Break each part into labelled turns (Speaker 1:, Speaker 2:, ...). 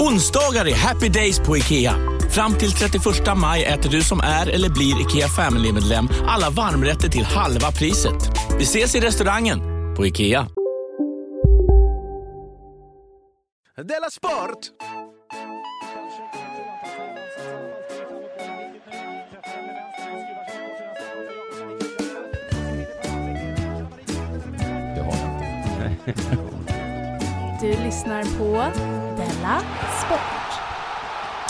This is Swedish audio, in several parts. Speaker 1: Onsdagar är happy days på IKEA. Fram till 31 maj äter du som är eller blir IKEA Family-medlem alla varmrätter till halva priset. Vi ses i restaurangen på IKEA.
Speaker 2: Della Sport!
Speaker 3: Det har jag inte.
Speaker 4: Du lyssnar på Della Sport.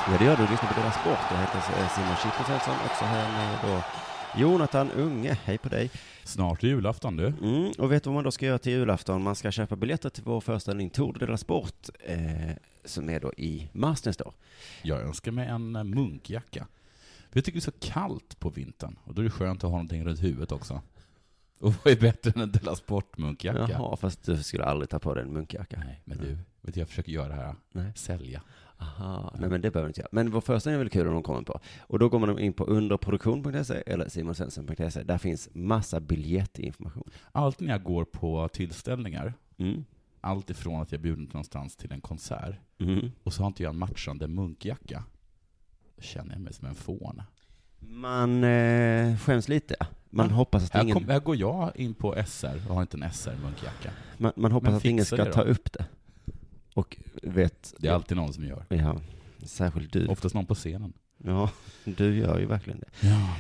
Speaker 3: Ja, det gör du. Du lyssnar på Dela Sport. Jag heter eh, Simon Chippen Svensson. Också här med då Jonathan Unge. Hej på dig.
Speaker 5: Snart är julafton du.
Speaker 3: Mm, och vet du vad man då ska göra till julafton? Man ska köpa biljetter till vår föreställning Tour de Dela Sport, eh, som är då i mars nästa år.
Speaker 5: Jag önskar mig en eh, munkjacka. För jag tycker det är så kallt på vintern och då är det skönt att ha någonting runt huvudet också. Och vad är bättre än en Della Sport-munkjacka?
Speaker 3: Jaha, fast du skulle aldrig ta på dig en munkjacka.
Speaker 5: Nej, men du, vet du, jag försöker göra det här.
Speaker 3: Nej.
Speaker 5: Sälja.
Speaker 3: Aha, nej men det behöver du inte göra. Men vår föreställning är väl kul om de kommer på. Och då går man in på underproduktion.se eller simonsvensson.se. Där finns massa biljettinformation.
Speaker 5: Alltid när jag går på tillställningar,
Speaker 3: Mm.
Speaker 5: allt ifrån att jag bjudit någonstans till en konsert,
Speaker 3: Mm.
Speaker 5: och så har inte jag en matchande munkjacka, då känner jag mig som en fån.
Speaker 3: Man eh, skäms lite. Man hoppas att
Speaker 5: Här,
Speaker 3: ingen,
Speaker 5: kom, här går jag in på SR och har inte en SR-munkjacka.
Speaker 3: man, man hoppas
Speaker 5: Men
Speaker 3: att ingen
Speaker 5: fixa
Speaker 3: ska
Speaker 5: det
Speaker 3: ta
Speaker 5: då.
Speaker 3: upp det. Och vet...
Speaker 5: Det är alltid någon som gör.
Speaker 3: Ja, särskilt du.
Speaker 5: Oftast någon på scenen.
Speaker 3: Ja, du gör ju verkligen det.
Speaker 5: Ja.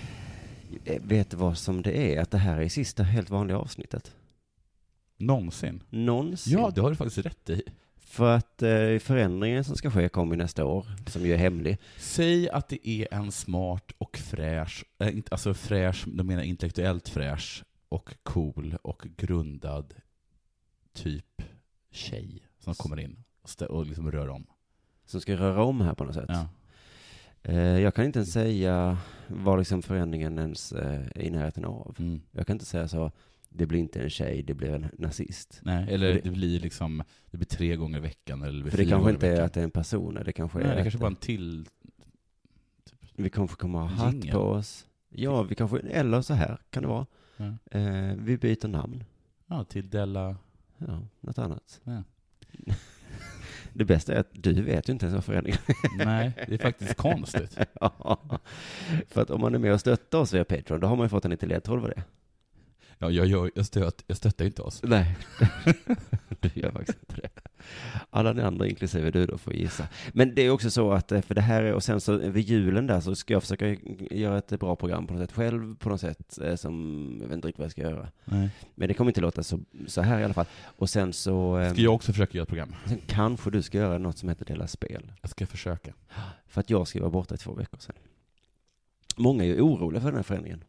Speaker 3: Eh, Vet du vad som det är? Att det här är sista helt vanliga avsnittet.
Speaker 5: Någonsin.
Speaker 3: Någonsin.
Speaker 5: Ja, det har du faktiskt rätt i.
Speaker 3: För att eh, förändringen som ska ske kommer ju nästa år, som ju är hemlig.
Speaker 5: Säg att det är en smart och fräsch, äh, inte- alltså fräsch, då menar jag intellektuellt fräsch och cool och grundad typ tjej som kommer in och, stä- och liksom rör om.
Speaker 3: Som ska röra om här på något sätt.
Speaker 5: Ja.
Speaker 3: Eh, jag kan inte ens säga vad liksom förändringen ens eh, är i närheten av.
Speaker 5: Mm.
Speaker 3: Jag kan inte säga så, det blir inte en tjej, det blir en nazist.
Speaker 5: Nej, eller
Speaker 3: Det-
Speaker 5: det, blir liksom, det blir tre gånger i veckan eller det blir
Speaker 3: För det
Speaker 5: fyra
Speaker 3: kanske
Speaker 5: gånger
Speaker 3: inte
Speaker 5: i
Speaker 3: är
Speaker 5: veckan.
Speaker 3: att det är en person, det kanske är
Speaker 5: Nej, det
Speaker 3: att
Speaker 5: kanske bara en till...
Speaker 3: vi kanske kommer att ha hatt
Speaker 5: Jingel.
Speaker 3: på oss. Ja, vi kanske, eller så här kan det vara.
Speaker 5: Ja.
Speaker 3: Eh, vi byter namn.
Speaker 5: Ja, till Della...
Speaker 3: Ja, något annat.
Speaker 5: Ja.
Speaker 3: Det bästa är att du vet ju inte ens vad förändringen
Speaker 5: Nej, det är faktiskt konstigt.
Speaker 3: är. Ja. För att om man är med och stöttar oss via Patreon, då har man ju fått en liten ledtråd vad det är.
Speaker 5: Ja, jag, jag, jag, stöt, jag stöttar ju inte oss.
Speaker 3: Nej, du gör faktiskt inte det. Alla ni andra, inklusive du då, får gissa. Men det är också så att, eh, för det här är, och sen så vid julen där så ska jag försöka göra ett bra program på något sätt själv, på något sätt eh, som, jag vet inte riktigt vad jag ska göra.
Speaker 5: Nej.
Speaker 3: Men det kommer inte låta så, så här i alla fall. Och sen så, eh,
Speaker 5: Ska jag också försöka göra ett program?
Speaker 3: sen kanske du ska göra något som heter Dela Spel.
Speaker 5: Jag ska försöka.
Speaker 3: För att jag ska vara borta i två veckor sen. Många är ju oroliga för den här förändringen.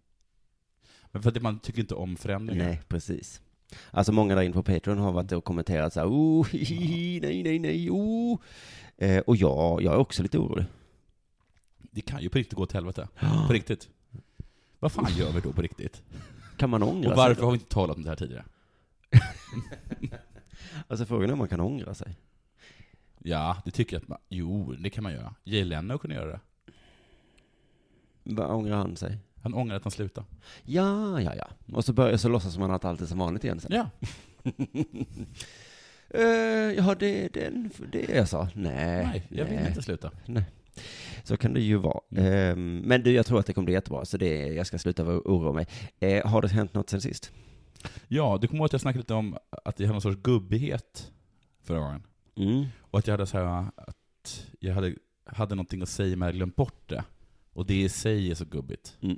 Speaker 5: Men för att man tycker inte om förändringar.
Speaker 3: Nej, precis. Alltså många där inne på Patreon har varit och kommenterat så här, oh, hihi, nej, nej, nej, oh. Eh, och jag, jag är också lite orolig.
Speaker 5: Det kan ju på riktigt gå åt helvete. På riktigt. Vad fan gör vi då på riktigt?
Speaker 3: Kan man ångra
Speaker 5: Och varför
Speaker 3: sig?
Speaker 5: har vi inte talat om det här tidigare?
Speaker 3: Alltså frågan är om man kan ångra sig.
Speaker 5: Ja, det tycker jag att man... Jo, det kan man göra. Jay Leno kunde göra det.
Speaker 3: Bara ångrar han sig?
Speaker 5: Han ångrar att han slutade.
Speaker 3: Ja, ja, ja. Och så börjar så låtsas man att allt är som vanligt igen sen.
Speaker 5: Ja.
Speaker 3: Eh, ja, det är den, det är jag sa. Nej,
Speaker 5: Nej, jag vill
Speaker 3: nej.
Speaker 5: inte Mm. sluta.
Speaker 3: Så kan det ju vara. Ehm, men du, jag tror att det kommer bli jättebra, så det, jag ska sluta vara- oroa mig. Eh, har det hänt något sen sist?
Speaker 5: Ja, du kommer ihåg att jag snackade lite om att jag hade någon sorts gubbighet förra gången.
Speaker 3: Mm,
Speaker 5: Och att jag hade så här, att jag hade, hade någonting att säga men jag hade glömt bort det. Och det i sig är så gubbigt.
Speaker 3: Mm.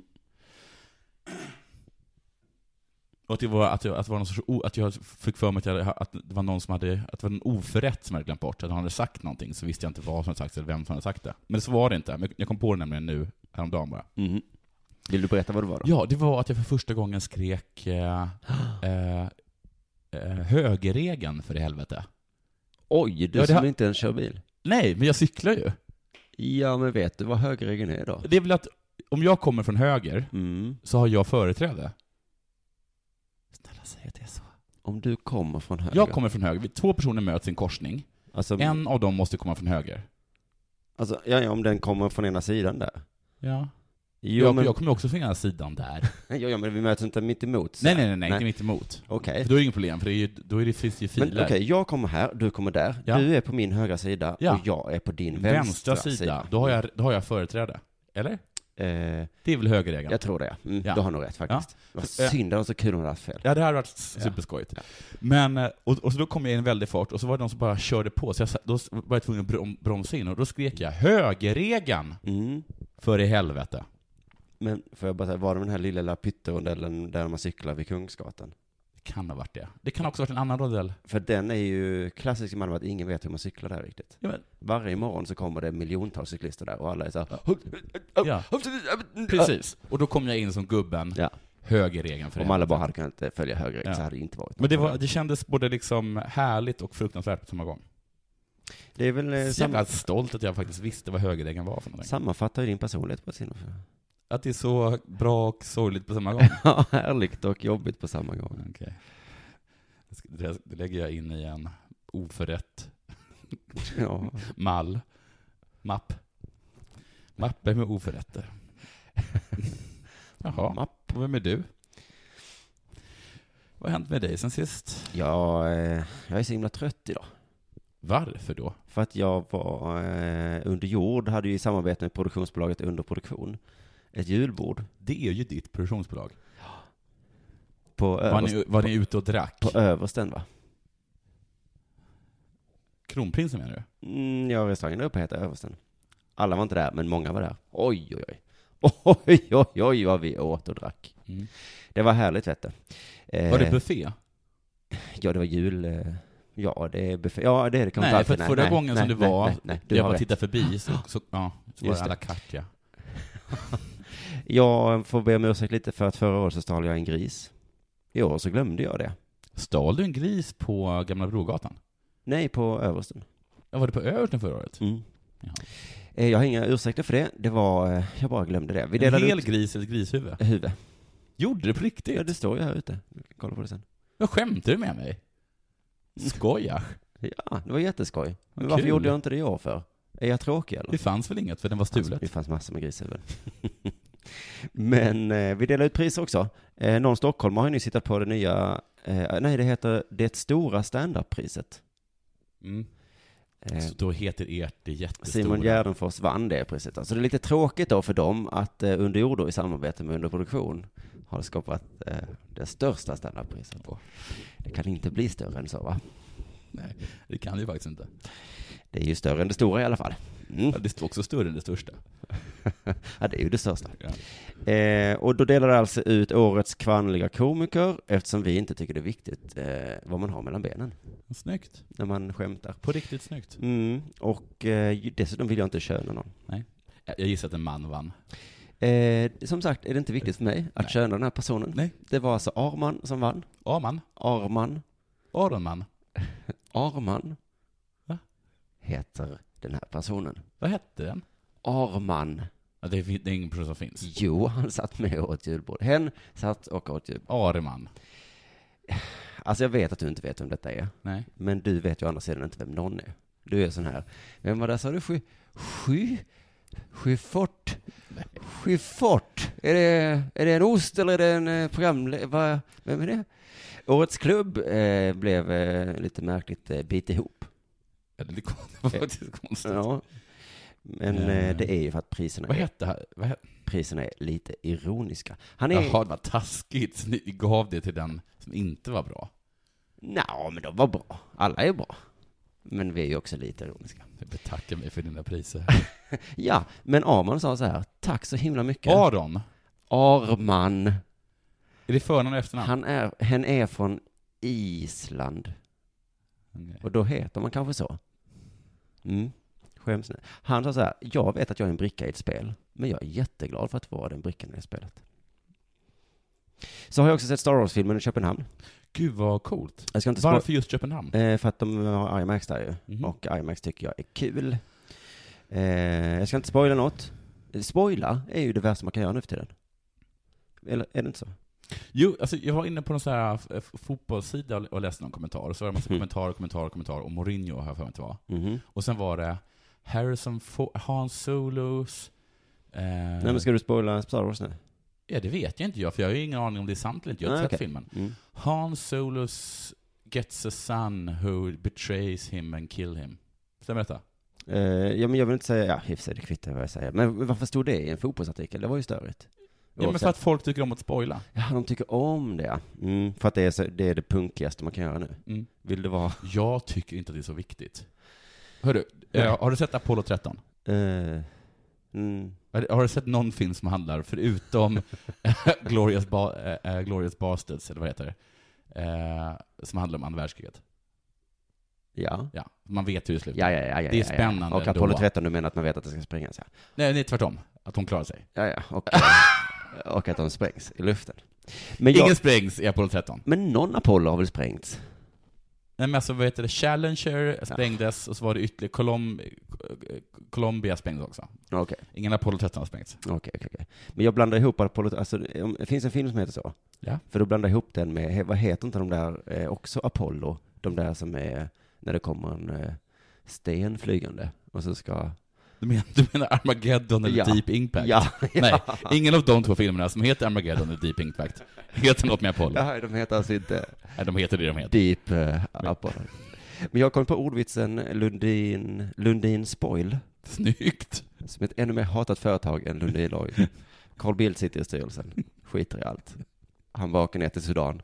Speaker 5: Och att det var, att jag, att det var någon sorts, o- att jag fick för mig att, jag, hade- att det var någon som hade, att det var en oförrätt som jag hade glömt bort. Att han hade sagt någonting, så visste jag inte vad som hade sagts eller vem som hade sagt det. Men så var det inte. Men jag kom på det nämligen nu, häromdagen bara.
Speaker 3: mhm. Vill du berätta vad det var då?
Speaker 5: Ja, det var att jag för första gången skrek eh, eh, eh, högerregeln för i helvete.
Speaker 3: Oj, du
Speaker 5: Ja, det
Speaker 3: som
Speaker 5: har-
Speaker 3: inte ens kör bil.
Speaker 5: Nej, men jag cyklar ju.
Speaker 3: Ja, men vet du vad högerregeln är då?
Speaker 5: Det är väl att om jag kommer från höger
Speaker 3: Mm.
Speaker 5: så har jag företräde. Snälla säg att det är så.
Speaker 3: Om du kommer från höger.
Speaker 5: Jag kommer från höger. Vi- Två personer möts i en korsning. en av dem måste komma från höger.
Speaker 3: Alltså, ja, ja, om den kommer från ena sidan där.
Speaker 5: Ja.
Speaker 3: Jo,
Speaker 5: jag,
Speaker 3: men...
Speaker 5: jag kommer också från ena sidan där.
Speaker 3: ja, ja, men vi möts inte mitt emot. så
Speaker 5: nej,
Speaker 3: här.
Speaker 5: nej, nej, nej, inte mitt emot.
Speaker 3: Okej.
Speaker 5: För då är det inget problem, för det är ju, då är det, finns det ju
Speaker 3: Men
Speaker 5: filer.
Speaker 3: okej, jag kommer här, du kommer där.
Speaker 5: Ja.
Speaker 3: Du är på min högra sida
Speaker 5: Ja.
Speaker 3: och jag är på din vänstra,
Speaker 5: Vänstra sida,
Speaker 3: sida.
Speaker 5: Då, har jag, då har jag företräde. Eller?
Speaker 3: Eh,
Speaker 5: Det är väl högerregeln?
Speaker 3: jag tror det. Mm,
Speaker 5: Ja.
Speaker 3: Du har nog rätt faktiskt. Vad
Speaker 5: Så, eh,
Speaker 3: synd, det var så kul om du hade haft fel.
Speaker 5: Ja, det hade varit s- superskojigt. Men, eh, och, och så då kom jag i en väldig fart, och så var det någon som bara körde på, så jag, sa- då s- var jag tvungen att brom, bromsa in, och då skrek jag 'Högerregeln!' För i helvete.
Speaker 3: Mm. Men får jag bara säga, var det den här lilla, lilla pytterondellen där man cyklar vid Kungsgatan?
Speaker 5: Det kan ha varit det. Det kan också ha varit en annan rondell.
Speaker 3: För den är ju klassisk i Malmö att ingen vet hur man cyklar där riktigt.
Speaker 5: Ja, men-
Speaker 3: Varje morgon så kommer det miljontals cyklister där och alla är så här, "Hup,
Speaker 5: Ja.
Speaker 3: hup, hup."
Speaker 5: Precis. Och då kom jag in som gubben,
Speaker 3: Ja.
Speaker 5: högerregeln för i
Speaker 3: Om alla
Speaker 5: helvete.
Speaker 3: bara hade kunnat eh, följa högre
Speaker 5: Ja.
Speaker 3: så hade det inte varit
Speaker 5: Men det,
Speaker 3: något
Speaker 5: var,
Speaker 3: problem.
Speaker 5: det kändes både liksom härligt och fruktansvärt på samma gång.
Speaker 3: det är väl, eh,
Speaker 5: Så
Speaker 3: sam...
Speaker 5: jävla stolt att jag faktiskt visste vad högerregeln var för någonting.
Speaker 3: sammanfattar ju din personlighet på sin
Speaker 5: Att det är så bra och sorgligt på samma gång.
Speaker 3: Ja, härligt och jobbigt på samma gång.
Speaker 5: Okej. Det ska- Det, det lägger jag in i en oförrätt
Speaker 3: Ja.
Speaker 5: mall. Mapp. Mappe med oförrätter. Jaha,
Speaker 3: Mapp.
Speaker 5: och vem är du? Vad har hänt med dig sen sist?
Speaker 3: Jag, eh, jag är så himla trött idag.
Speaker 5: Varför då?
Speaker 3: För att jag var eh, under jord, hade ju i samarbete med produktionsbolaget Underproduktion ett julbord
Speaker 5: Det är ju ditt produktionsbolag.
Speaker 3: på,
Speaker 5: Var
Speaker 3: överst,
Speaker 5: ni, var ni ute och drack?
Speaker 3: Äh, på översten va?
Speaker 5: Kronprinsen menar du?
Speaker 3: Mm, ja, restaurangen där uppe heter översten. Alla var inte där, men många var där. Oj, oj, oj. Oj, oj, oj vad vi åt och drack.
Speaker 5: Mm.
Speaker 3: Det var härligt vet du. Eh,
Speaker 5: Var det buffé?
Speaker 3: Ja, det var jul. eh, Ja, det är buffé. Ja, det är det. Kommer
Speaker 5: Nej,
Speaker 3: inte alltid.
Speaker 5: för att förra
Speaker 3: nej,
Speaker 5: gången
Speaker 3: nej,
Speaker 5: som du
Speaker 3: nej,
Speaker 5: var,
Speaker 3: nej, nej, du
Speaker 5: jag
Speaker 3: har
Speaker 5: bara
Speaker 3: rätt.
Speaker 5: tittade förbi, så, så, ja, så var
Speaker 3: Just
Speaker 5: det à
Speaker 3: det.
Speaker 5: la carte ja.
Speaker 3: Jag får be om ursäkt lite för att förra året så stal jag en gris. I år så glömde jag det.
Speaker 5: Stal du en gris på Gamla Brogatan?
Speaker 3: Nej, på översten.
Speaker 5: Ja, var det på Översten förra året?
Speaker 3: Mm.
Speaker 5: Jaha.
Speaker 3: Eh, Jag har inga ursäkter för det. Det var, eh, jag bara glömde det. Vi
Speaker 5: En
Speaker 3: delade
Speaker 5: hel
Speaker 3: ut
Speaker 5: gris eller ett grishuvud?
Speaker 3: huvud.
Speaker 5: Gjorde du på
Speaker 3: Ja,
Speaker 5: riktigt?
Speaker 3: det står ju här ute. Du kan kolla på det sen.
Speaker 5: Jag skämtar du med mig?
Speaker 3: Mm.
Speaker 5: Skoja.
Speaker 3: Ja, det var jätteskoj. Men
Speaker 5: Vad
Speaker 3: varför
Speaker 5: kul.
Speaker 3: gjorde jag inte det i år för? Är jag tråkig eller? Alltså,
Speaker 5: Det fanns väl inget för den var
Speaker 3: Det
Speaker 5: stulet?
Speaker 3: fanns massor med grishuvuden. Men eh, vi delar ut priser också. Eh, någon stockholmare har ju nyss hittat på det nya, eh, nej det heter Det stora standardpriset.
Speaker 5: Mm.
Speaker 3: Eh,
Speaker 5: Så då heter ert det jättestora.
Speaker 3: Simon Gärdenfors vann det priset. Alltså det är lite tråkigt då för dem att eh, Underjord då i samarbete med Underproduktion har skapat eh, det största standardpriset. Det kan inte bli större än så va?
Speaker 5: Nej, det kan det ju faktiskt inte.
Speaker 3: Mm. Det är ju större än det stora i alla fall. Mm.
Speaker 5: Ja, Det är också större än det största.
Speaker 3: Ja, det är ju det största.
Speaker 5: Ja.
Speaker 3: Eh, och då delar det alltså ut årets kvinnliga komiker eftersom vi inte tycker det är viktigt eh, vad man har mellan benen
Speaker 5: Snyggt.
Speaker 3: när man skämtar.
Speaker 5: På riktigt snyggt.
Speaker 3: Mm, och eh, ju- dessutom vill jag inte köna någon.
Speaker 5: Jag gissar att en man vann.
Speaker 3: Eh, som sagt är det inte viktigt för mig att köna den här personen.
Speaker 5: Nej.
Speaker 3: Det var alltså Arman som vann.
Speaker 5: Aman?
Speaker 3: Arman.
Speaker 5: Aronman?
Speaker 3: Arman
Speaker 5: Va?
Speaker 3: heter den här personen.
Speaker 5: Vad hette den?
Speaker 3: Arman.
Speaker 5: Ja, det fin- det är ingen person som finns.
Speaker 3: Jo, han satt med och åt julbord. Hen satt och åt julbord.
Speaker 5: Arman?
Speaker 3: Alltså jag vet att du inte vet vem detta är.
Speaker 5: Nej.
Speaker 3: Men du vet ju å andra sidan inte vem någon är. Du är sån här, vem var det sa du? Sky, sky, skyfort, skyfort. Är det, är det en ost eller är det en eh, programle- vad Vem är det? Årets klubb eh, blev eh, lite märkligt eh, bit ihop.
Speaker 5: Ja, Det var faktiskt konstigt.
Speaker 3: Ja. Men
Speaker 5: Ja, ja, ja.
Speaker 3: eh, det är ju för att priserna
Speaker 5: Vad
Speaker 3: är,
Speaker 5: hette han? Vad hette-
Speaker 3: priserna är lite ironiska. Han är,
Speaker 5: Jaha, det var taskigt. Så Ni gav det till den som inte var bra.
Speaker 3: nja men de var bra. Alla är bra. Men vi är ju också lite ironiska.
Speaker 5: Jag betackar mig för dina priser.
Speaker 3: Ja, men Arman sa så här, tack så himla mycket.
Speaker 5: Aron?
Speaker 3: Arman.
Speaker 5: Är Är det förnamn och efternamn?
Speaker 3: Han är, hen är från Island. Och då heter man kanske så. Mm. Skäms nu. Han sa så här, jag vet att jag är en bricka i ett spel, men jag är jätteglad för att vara den brickan i det spelet. Så har jag också sett Star Wars-filmen i Köpenhamn.
Speaker 5: Gud vad coolt.
Speaker 3: Jag ska inte spå-
Speaker 5: Varför just Köpenhamn?
Speaker 3: Eh, för att de har IMAX där ju. Och IMAX tycker jag är kul. Eh, jag ska inte spoila något. Spoila är ju det värsta man kan göra nu för tiden. Eller är det inte så?
Speaker 5: Jo, alltså jag var inne på någon sån här f- f- fotbollssida och- och läste någon kommentar, och så var det en massa
Speaker 3: Mm.
Speaker 5: kommentarer, kommentarer, kommentarer, och Mourinho har jag för mig att det var.
Speaker 3: Mhm.
Speaker 5: Och sen var det Harrison Fo- Hans Solos... Eh,
Speaker 3: Nej men ska du spoila Star Wars nu?
Speaker 5: Ja, det vet jag inte jag, för jag har ju ingen aning om det är sant eller inte. Jag har
Speaker 3: Nej,
Speaker 5: inte
Speaker 3: okej.
Speaker 5: sett filmen.
Speaker 3: Mm.
Speaker 5: Hans Solos gets a son who betrays him and kill him. Stämmer detta?
Speaker 3: Eh, ja men jag vill inte säga, ja i och för sig det kvittar vad jag säger. Men varför stod det i en fotbollsartikel? Det var ju störigt.
Speaker 5: Ja, men för
Speaker 3: Oavsett.
Speaker 5: att folk tycker om att spoila.
Speaker 3: Ja, de tycker om det. Mm, för att det är, så, det är det punkigaste man kan göra nu.
Speaker 5: Mm.
Speaker 3: Vill det vara...
Speaker 5: Jag tycker inte att det är så viktigt. Hörru, eh, har du sett Apollo 13?
Speaker 3: Eh, mm,
Speaker 5: Har har du sett någon film som handlar, förutom Glorious, ba- eh, eh, Glorious Bastards, eller vad heter det? Eh, som handlar om andra världskriget?
Speaker 3: ja.
Speaker 5: Ja, man vet hur det slutar.
Speaker 3: Ja, ja, ja, ja,
Speaker 5: det
Speaker 3: ja,
Speaker 5: är spännande
Speaker 3: Ja. Och
Speaker 5: ändå.
Speaker 3: Apollo 13, du menar att man vet att det ska sprängas? Ja,
Speaker 5: Nej, nej, tvärtom. Att hon klarar sig.
Speaker 3: ja, ja. Och, eh, och att de sprängs i luften. Men, jag,
Speaker 5: Ingen sprängs i Apollo 13.
Speaker 3: men någon Apollo har väl sprängts?
Speaker 5: Nej men alltså vad heter det, Challenger sprängdes och så var det ytterligare Colom- Colombia sprängdes också.
Speaker 3: Okej,
Speaker 5: Ingen Apollo 13 har sprängts.
Speaker 3: okej, okej. okej. Men jag blandar ihop Apollo, alltså om- det finns en film som heter så.
Speaker 5: Ja.
Speaker 3: För då blandar jag ihop den med, he- vad heter inte de där, eh, också Apollo, de där som är, när det kommer en eh, sten flygande och så ska...
Speaker 5: Du menar, du menar Armageddon eller
Speaker 3: Ja.
Speaker 5: Deep Impact?
Speaker 3: Ja,
Speaker 5: Nej, ingen av de två filmerna som heter Armageddon eller Deep Impact heter något med Apollo.
Speaker 3: Nej, de heter alltså inte
Speaker 5: Nej, de heter det de heter.
Speaker 3: Deep eh, Apollo. Men jag kom på ordvitsen Lundin, Lundin Spoil,
Speaker 5: Snyggt!
Speaker 3: som är ett ännu mer hatat företag än Lundin Oil. Carl Bildt sitter i styrelsen, skiter i allt. Han var åker ner till Sudan,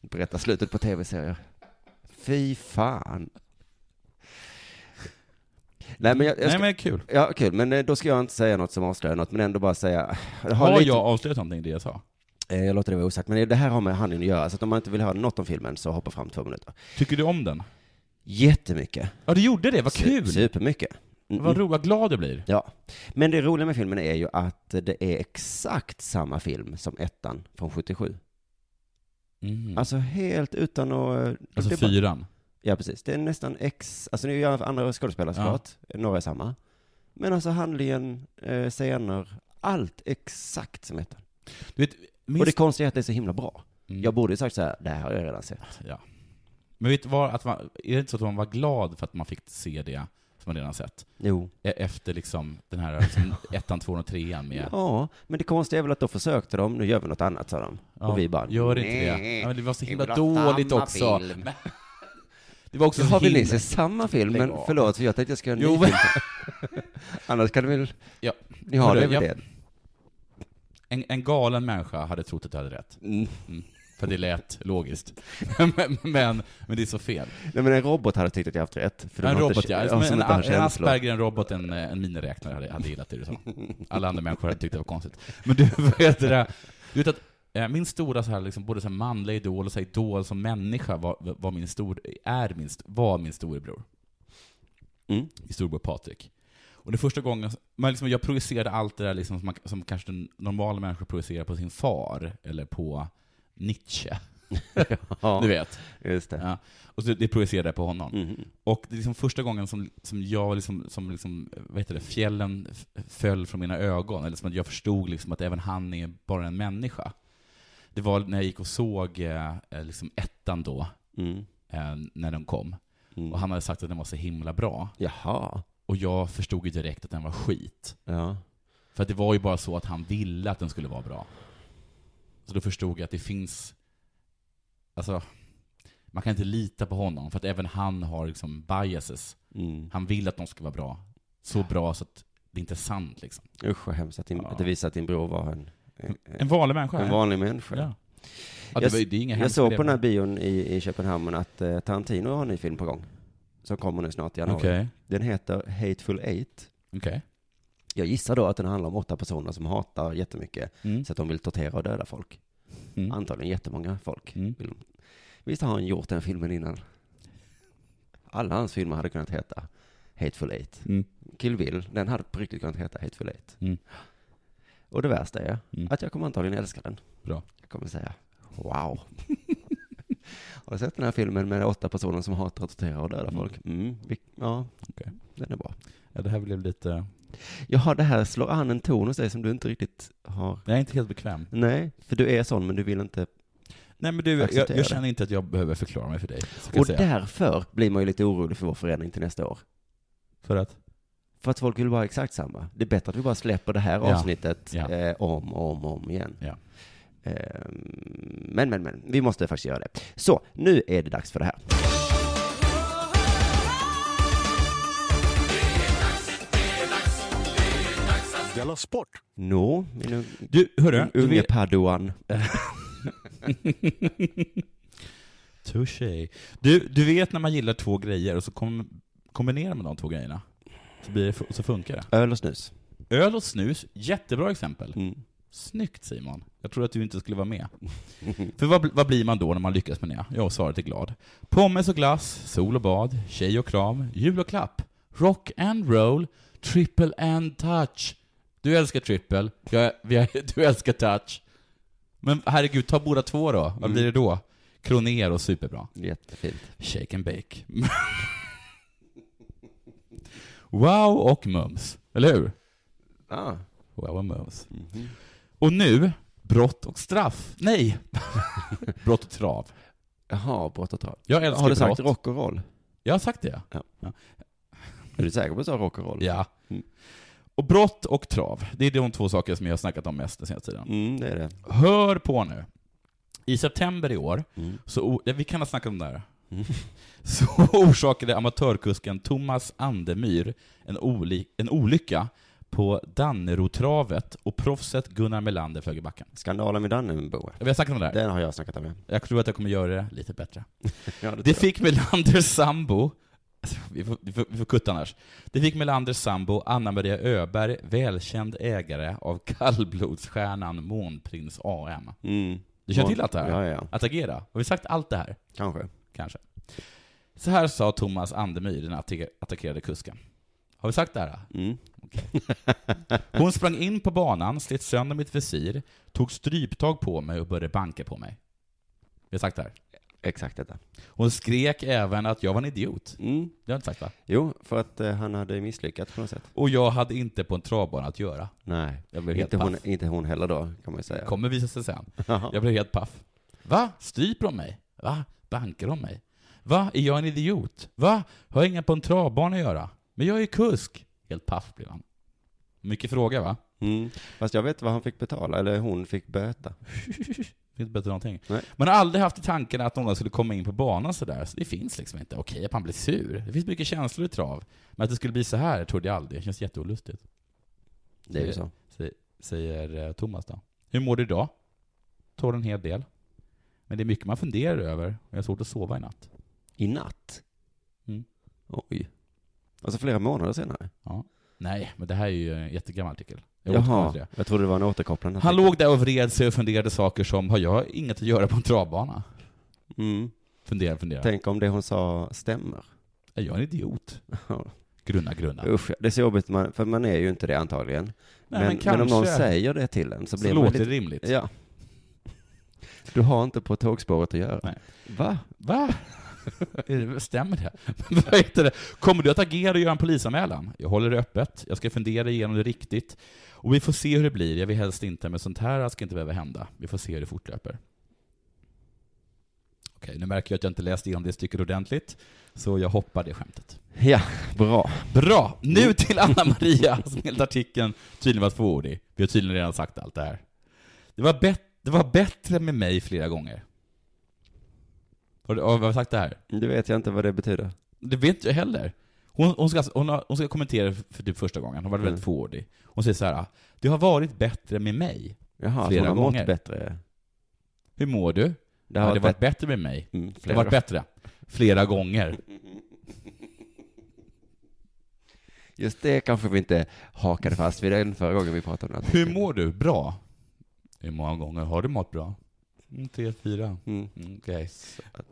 Speaker 3: berättar slutet på tv-serier. Fy fan. Nej men, jag, jag
Speaker 5: Nej
Speaker 3: ska,
Speaker 5: men kul.
Speaker 3: Ja, kul. Men eh, då ska jag inte säga något som avslöjar något, men ändå bara säga... det har
Speaker 5: Har
Speaker 3: lite-
Speaker 5: jag avslöjat någonting i det jag sa?
Speaker 3: Eh, Jag låter det vara osagt, men det här har med handlingen att göra, så att om man inte vill höra något om filmen så hoppa fram två minuter.
Speaker 5: Tycker du om den?
Speaker 3: Jättemycket.
Speaker 5: Ja, du gjorde det, vad
Speaker 3: Su-
Speaker 5: kul!
Speaker 3: Supermycket. Mm,
Speaker 5: Vad
Speaker 3: mm.
Speaker 5: roligt, vad glad du blir.
Speaker 3: Ja. Men det roliga med filmen är ju att det är exakt samma film som ettan från 77.
Speaker 5: Mm.
Speaker 3: Alltså helt utan att... eh, det
Speaker 5: Alltså
Speaker 3: är bara-
Speaker 5: fyran.
Speaker 3: Ja, precis. Det är nästan ex... Alltså nu är ju andra skådespelare
Speaker 5: Ja.
Speaker 3: såklart, några är samma. Men alltså handlingen, eh, scener, allt exakt som ettan.
Speaker 5: Du vet, minns...
Speaker 3: Och det konstiga är att det är så himla bra.
Speaker 5: Mm.
Speaker 3: Jag borde ju sagt så här, det här har jag redan sett.
Speaker 5: Ja. Men vet du vad, att man, är det inte så att man var glad för att man fick se det som man redan sett?
Speaker 3: Jo.
Speaker 5: E- Efter liksom den här liksom, ettan, tvåan och trean med...
Speaker 3: Ja, men det konstiga är väl att då försökte de, nu gör vi något annat, sa de.
Speaker 5: Ja,
Speaker 3: och vi bara,
Speaker 5: Gör inte det.
Speaker 3: "Nej,
Speaker 5: Ja, men det var så
Speaker 3: vill
Speaker 5: himla
Speaker 3: ha
Speaker 5: dåligt
Speaker 3: samma
Speaker 5: också.
Speaker 3: film."
Speaker 5: Men- Det var också så
Speaker 3: Jaha, vill
Speaker 5: himla...
Speaker 3: ni se samma film?
Speaker 5: Lägg
Speaker 3: Men
Speaker 5: av.
Speaker 3: förlåt, för jag tänkte jag skulle göra en
Speaker 5: Jo,
Speaker 3: ny
Speaker 5: men-
Speaker 3: film. Annars kan du väl,
Speaker 5: Ja.
Speaker 3: ni har
Speaker 5: Hörru,
Speaker 3: det väl
Speaker 5: jag-
Speaker 3: det?
Speaker 5: En, en galen människa hade trott att du hade rätt.
Speaker 3: Mm.
Speaker 5: Mm. För det lät logiskt. men, men, men det är så fel.
Speaker 3: Nej men en robot hade tyckt att jag haft rätt. För de
Speaker 5: en
Speaker 3: har inte-
Speaker 5: robot, ja.
Speaker 3: som
Speaker 5: Men en,
Speaker 3: inte har
Speaker 5: en
Speaker 3: känslor.
Speaker 5: Asperger, en robot, en, eh, en miniräknare hade, hade gillat det du sa. Alla andra människor hade tyckt det var konstigt. Men du, vad heter det? Du vet att eh, min stora så här, liksom, både så här manliga idol och så här, idol som människa var, var min stor, är min, st- var min storebror.
Speaker 3: Mm.
Speaker 5: Min storebror Patrik. Och det första gången, man liksom, jag projicerade allt det där liksom, som, man, som kanske den normala människan projicerar på sin far, eller på Nietzsche.
Speaker 3: Ja,
Speaker 5: Du vet.
Speaker 3: just det.
Speaker 5: Ja. Och så det projicerade jag på honom.
Speaker 3: Mhm.
Speaker 5: Och det är liksom första gången som, som jag liksom, som liksom, vad heter det, fjällen f- föll från mina ögon, eller som att jag förstod liksom att även han är bara en människa. Det var när jag gick och såg eh, eh, liksom ettan då,
Speaker 3: Mm.
Speaker 5: eh, när den kom.
Speaker 3: Mm.
Speaker 5: Och han hade sagt att den var så himla bra.
Speaker 3: Jaha.
Speaker 5: Och jag förstod ju direkt att den var skit.
Speaker 3: Ja.
Speaker 5: För att det var ju bara så att han ville att den skulle vara bra. Så då förstod jag att det finns, alltså, man kan inte lita på honom, för att även han har liksom biases.
Speaker 3: Mm.
Speaker 5: Han vill att de ska vara bra. Så bra så att det inte är sant liksom.
Speaker 3: Usch vad hemskt att, din,
Speaker 5: Ja.
Speaker 3: att det visar att din bror var en, en,
Speaker 5: En vanlig människa?
Speaker 3: en vanlig människa.
Speaker 5: Ja. ja det,
Speaker 3: Jag
Speaker 5: var, det är inga
Speaker 3: Jag
Speaker 5: hemska
Speaker 3: såg på den här
Speaker 5: grejer.
Speaker 3: bion i, i Köpenhamn att eh, Tarantino har en ny film på gång. Som kommer nu snart i januari.
Speaker 5: Okej,
Speaker 3: Den heter Hateful Eight.
Speaker 5: okej.
Speaker 3: Jag gissar då att den handlar om åtta personer som hatar jättemycket.
Speaker 5: Mm.
Speaker 3: Så att de vill tortera och döda folk. Antagligen jättemånga folk. Vill de- Visst har han gjort den filmen innan? Alla hans filmer hade kunnat heta Hateful Eight.
Speaker 5: Mm,
Speaker 3: Kill Bill, den hade på riktigt kunnat heta Hateful Eight. Och det värsta är
Speaker 5: mm.
Speaker 3: att jag kommer antagligen älska den.
Speaker 5: Bra.
Speaker 3: Jag kommer säga wow. har du sett den här filmen med åtta personer som hatar att tortera och döda folk? Mm. vi- Ja, den är bra.
Speaker 5: Ja, det här blev lite...
Speaker 3: Jaha, det här slår an en ton hos dig som du inte riktigt har...
Speaker 5: Jag är inte helt bekväm.
Speaker 3: Nej, för du är sån men du vill inte
Speaker 5: Nej men du, jag,
Speaker 3: acceptera
Speaker 5: jag
Speaker 3: det.
Speaker 5: känner inte att jag behöver förklara mig för dig. så kan
Speaker 3: Och
Speaker 5: jag säga.
Speaker 3: därför blir man ju lite orolig för vår förändring till nästa år.
Speaker 5: För att?
Speaker 3: För att folk vill vara exakt samma. Det är bättre att vi bara släpper det här
Speaker 5: Ja.
Speaker 3: avsnittet
Speaker 5: Ja.
Speaker 3: eh, om och om, och om igen.
Speaker 5: Ja.
Speaker 3: Ehm, men, men, men. Vi måste faktiskt göra det. Så, nu är det dags för det här.
Speaker 2: Della Sport!
Speaker 3: Nå, min un-
Speaker 5: Du, hörru,
Speaker 3: min
Speaker 5: du
Speaker 3: unge
Speaker 5: vet-
Speaker 3: Paduan.
Speaker 5: Touché. Du, du vet när man gillar två grejer och så kom, kombinerar man de två grejerna. Så, blir det, så funkar det.
Speaker 3: Öl och snus.
Speaker 5: Öl och snus, jättebra exempel.
Speaker 3: Mm.
Speaker 5: Snyggt Simon. Jag trodde att du inte skulle vara med. För vad, vad blir man då när man lyckas med det? Ja, svaret är glad. Pommes och glass, sol och bad, tjej och kram, jul och klapp, rock and roll, triple and touch. Du älskar triple, jag, vi- du älskar touch. Men herregud, ta båda två då. Vad blir det då? Kroner och superbra.
Speaker 3: Jättefint.
Speaker 5: Shake and bake. wow och mums, eller hur?
Speaker 3: Ah.
Speaker 5: Wow och mums.
Speaker 3: Mhm.
Speaker 5: Och nu, brott och straff. Nej! brott och trav.
Speaker 3: Jaha, brott och trav.
Speaker 5: Jag älskar
Speaker 3: Har du sagt
Speaker 5: brott.
Speaker 3: rock och roll?
Speaker 5: Jag har sagt det.
Speaker 3: Ja.
Speaker 5: Ja.
Speaker 3: Är du säker på att du sa rock och roll?
Speaker 5: Ja.
Speaker 3: Mm.
Speaker 5: Och brott och trav, det är de två saker som jag har snackat om mest den senaste tiden.
Speaker 3: Mm, det är det.
Speaker 5: Hör på nu. I september i år,
Speaker 3: Mm.
Speaker 5: så, ja, vi kan ha snackat om det här. Så orsakade amatörkusken Thomas Andemyr en, oli- en olycka på Dannerotravet och proffset Gunnar Melander flög i backen.
Speaker 3: Skandalen med Dannenboe.
Speaker 5: Vi har snackat om det här.
Speaker 3: Den har jag snackat om, ja.
Speaker 5: Jag tror att jag kommer göra det lite bättre.
Speaker 3: ja det tror
Speaker 5: Det
Speaker 3: jag.
Speaker 5: fick Melanders sambo, vi får, vi får, vi får kutta annars. Det fick Melanders sambo Anna-Maria Öberg, välkänd ägare av kallblodsstjärnan Månprins AM.
Speaker 3: Mm.
Speaker 5: Du känner till allt det här?
Speaker 3: Ja, ja, ja.
Speaker 5: Att agera? Har vi sagt allt det här?
Speaker 3: Kanske.
Speaker 5: Kanske. Så här sa Thomas Andemyr, den attack- attackerade kusken. Har vi sagt det här?
Speaker 3: Mm.
Speaker 5: Hon sprang in på banan, slet sönder mitt visir, tog stryptag på mig och började banka på mig. Vi har sagt det här.
Speaker 3: Exakt detta.
Speaker 5: Hon skrek även att jag var en idiot.
Speaker 3: Mm.
Speaker 5: Det har jag inte sagt va?
Speaker 3: Jo, för att eh, han hade misslyckats på något sätt.
Speaker 5: Och jag hade inte på en travbana att göra.
Speaker 3: Nej,
Speaker 5: Jag blev helt
Speaker 3: inte hon,
Speaker 5: paff.
Speaker 3: inte hon heller då, kan man ju säga.
Speaker 5: Kommer visa sig sen.
Speaker 3: Jaha.
Speaker 5: Jag blev helt paff. Va? Stryper de mig? Va? Bankar de mig? Va? Är jag en idiot? Va? Har jag inga på en travbana att göra? Men jag är ju kusk. Helt paff blev han. Mycket fråga va?
Speaker 3: Mm. Fast jag vet vad han fick betala, eller hon fick böta.
Speaker 5: Det är inte bättre än någonting.
Speaker 3: Nej.
Speaker 5: Man har aldrig haft i tanken att någon skulle komma in på banan sådär, så det finns liksom inte. Okej att man blir sur. Det finns mycket känslor i trav. Men att det skulle bli så här trodde jag aldrig. Det känns jätteolustigt.
Speaker 3: Det är ju så.
Speaker 5: Sä- Säger eh, Thomas då. Hur mår du idag? Tål en hel del. Men det är mycket man funderar över och jag har svårt att sova i natt.
Speaker 3: I natt?
Speaker 5: Mm.
Speaker 3: Oj. Alltså flera månader senare?
Speaker 5: Nej, men det här är ju en jättegammal artikel. Jag återkommer till
Speaker 3: Jaha,
Speaker 5: det.
Speaker 3: jag trodde det var en återkopplande.
Speaker 5: Han låg där och vred sig och funderade saker som, har jag inget att göra på en travbana?
Speaker 3: Mm.
Speaker 5: Fundera, fundera.
Speaker 3: Tänk om det hon sa stämmer.
Speaker 5: Är jag en idiot?
Speaker 3: Ja.
Speaker 5: Grunna, grunna.
Speaker 3: Usch, det är så jobbigt, man, för man är ju inte det antagligen.
Speaker 5: Nej,
Speaker 3: men,
Speaker 5: men
Speaker 3: men, om någon
Speaker 5: kanske.
Speaker 3: säger det till en så
Speaker 5: Så
Speaker 3: blir man
Speaker 5: låter det
Speaker 3: lite...
Speaker 5: rimligt.
Speaker 3: Ja. Du har inte på tågspåret att göra.
Speaker 5: Nej.
Speaker 3: Va?
Speaker 5: Va? Är det- Stämmer det? Vad heter det? Kommer du att agera och göra en polisanmälan? Jag håller det öppet. Jag ska fundera igenom det riktigt. Och vi får se hur det blir. Jag vill helst inte, men sånt här ska inte behöva hända. Vi får se hur det fortlöper. Okej, nu märker jag att jag inte läst igenom det stycket ordentligt, så jag hoppar det skämtet.
Speaker 3: Ja, bra.
Speaker 5: Bra! Nu till Anna-Maria, som enligt artikeln tydligen var tvåordig. Vi har tydligen redan sagt allt det här. Det var, bet- det var bättre med mig flera gånger. Har du, har vi sagt det här?
Speaker 3: Det vet jag inte vad det betyder.
Speaker 5: Det vet jag heller. Hon, hon, ska, alltså- hon, har, hon ska kommentera för typ första gången, hon var väldigt
Speaker 3: Mm.
Speaker 5: fåordig. Hon säger så här, det har varit bättre med mig.
Speaker 3: Jaha,
Speaker 5: Flera
Speaker 3: flera hon har
Speaker 5: gånger.
Speaker 3: mått bättre.
Speaker 5: Hur mår du?
Speaker 3: Det
Speaker 5: Det har,
Speaker 3: har
Speaker 5: det
Speaker 3: varit
Speaker 5: varit bättre med mig.
Speaker 3: Mm,
Speaker 5: Det har
Speaker 3: flera.
Speaker 5: varit bättre. Flera gånger.
Speaker 3: Just det kanske vi inte hakade fast vid den förra gången vi pratade om det.
Speaker 5: Hur mår du? Bra. Hur många gånger har du mått bra? Mm, T4.
Speaker 3: Mm.
Speaker 5: Mm, Okej.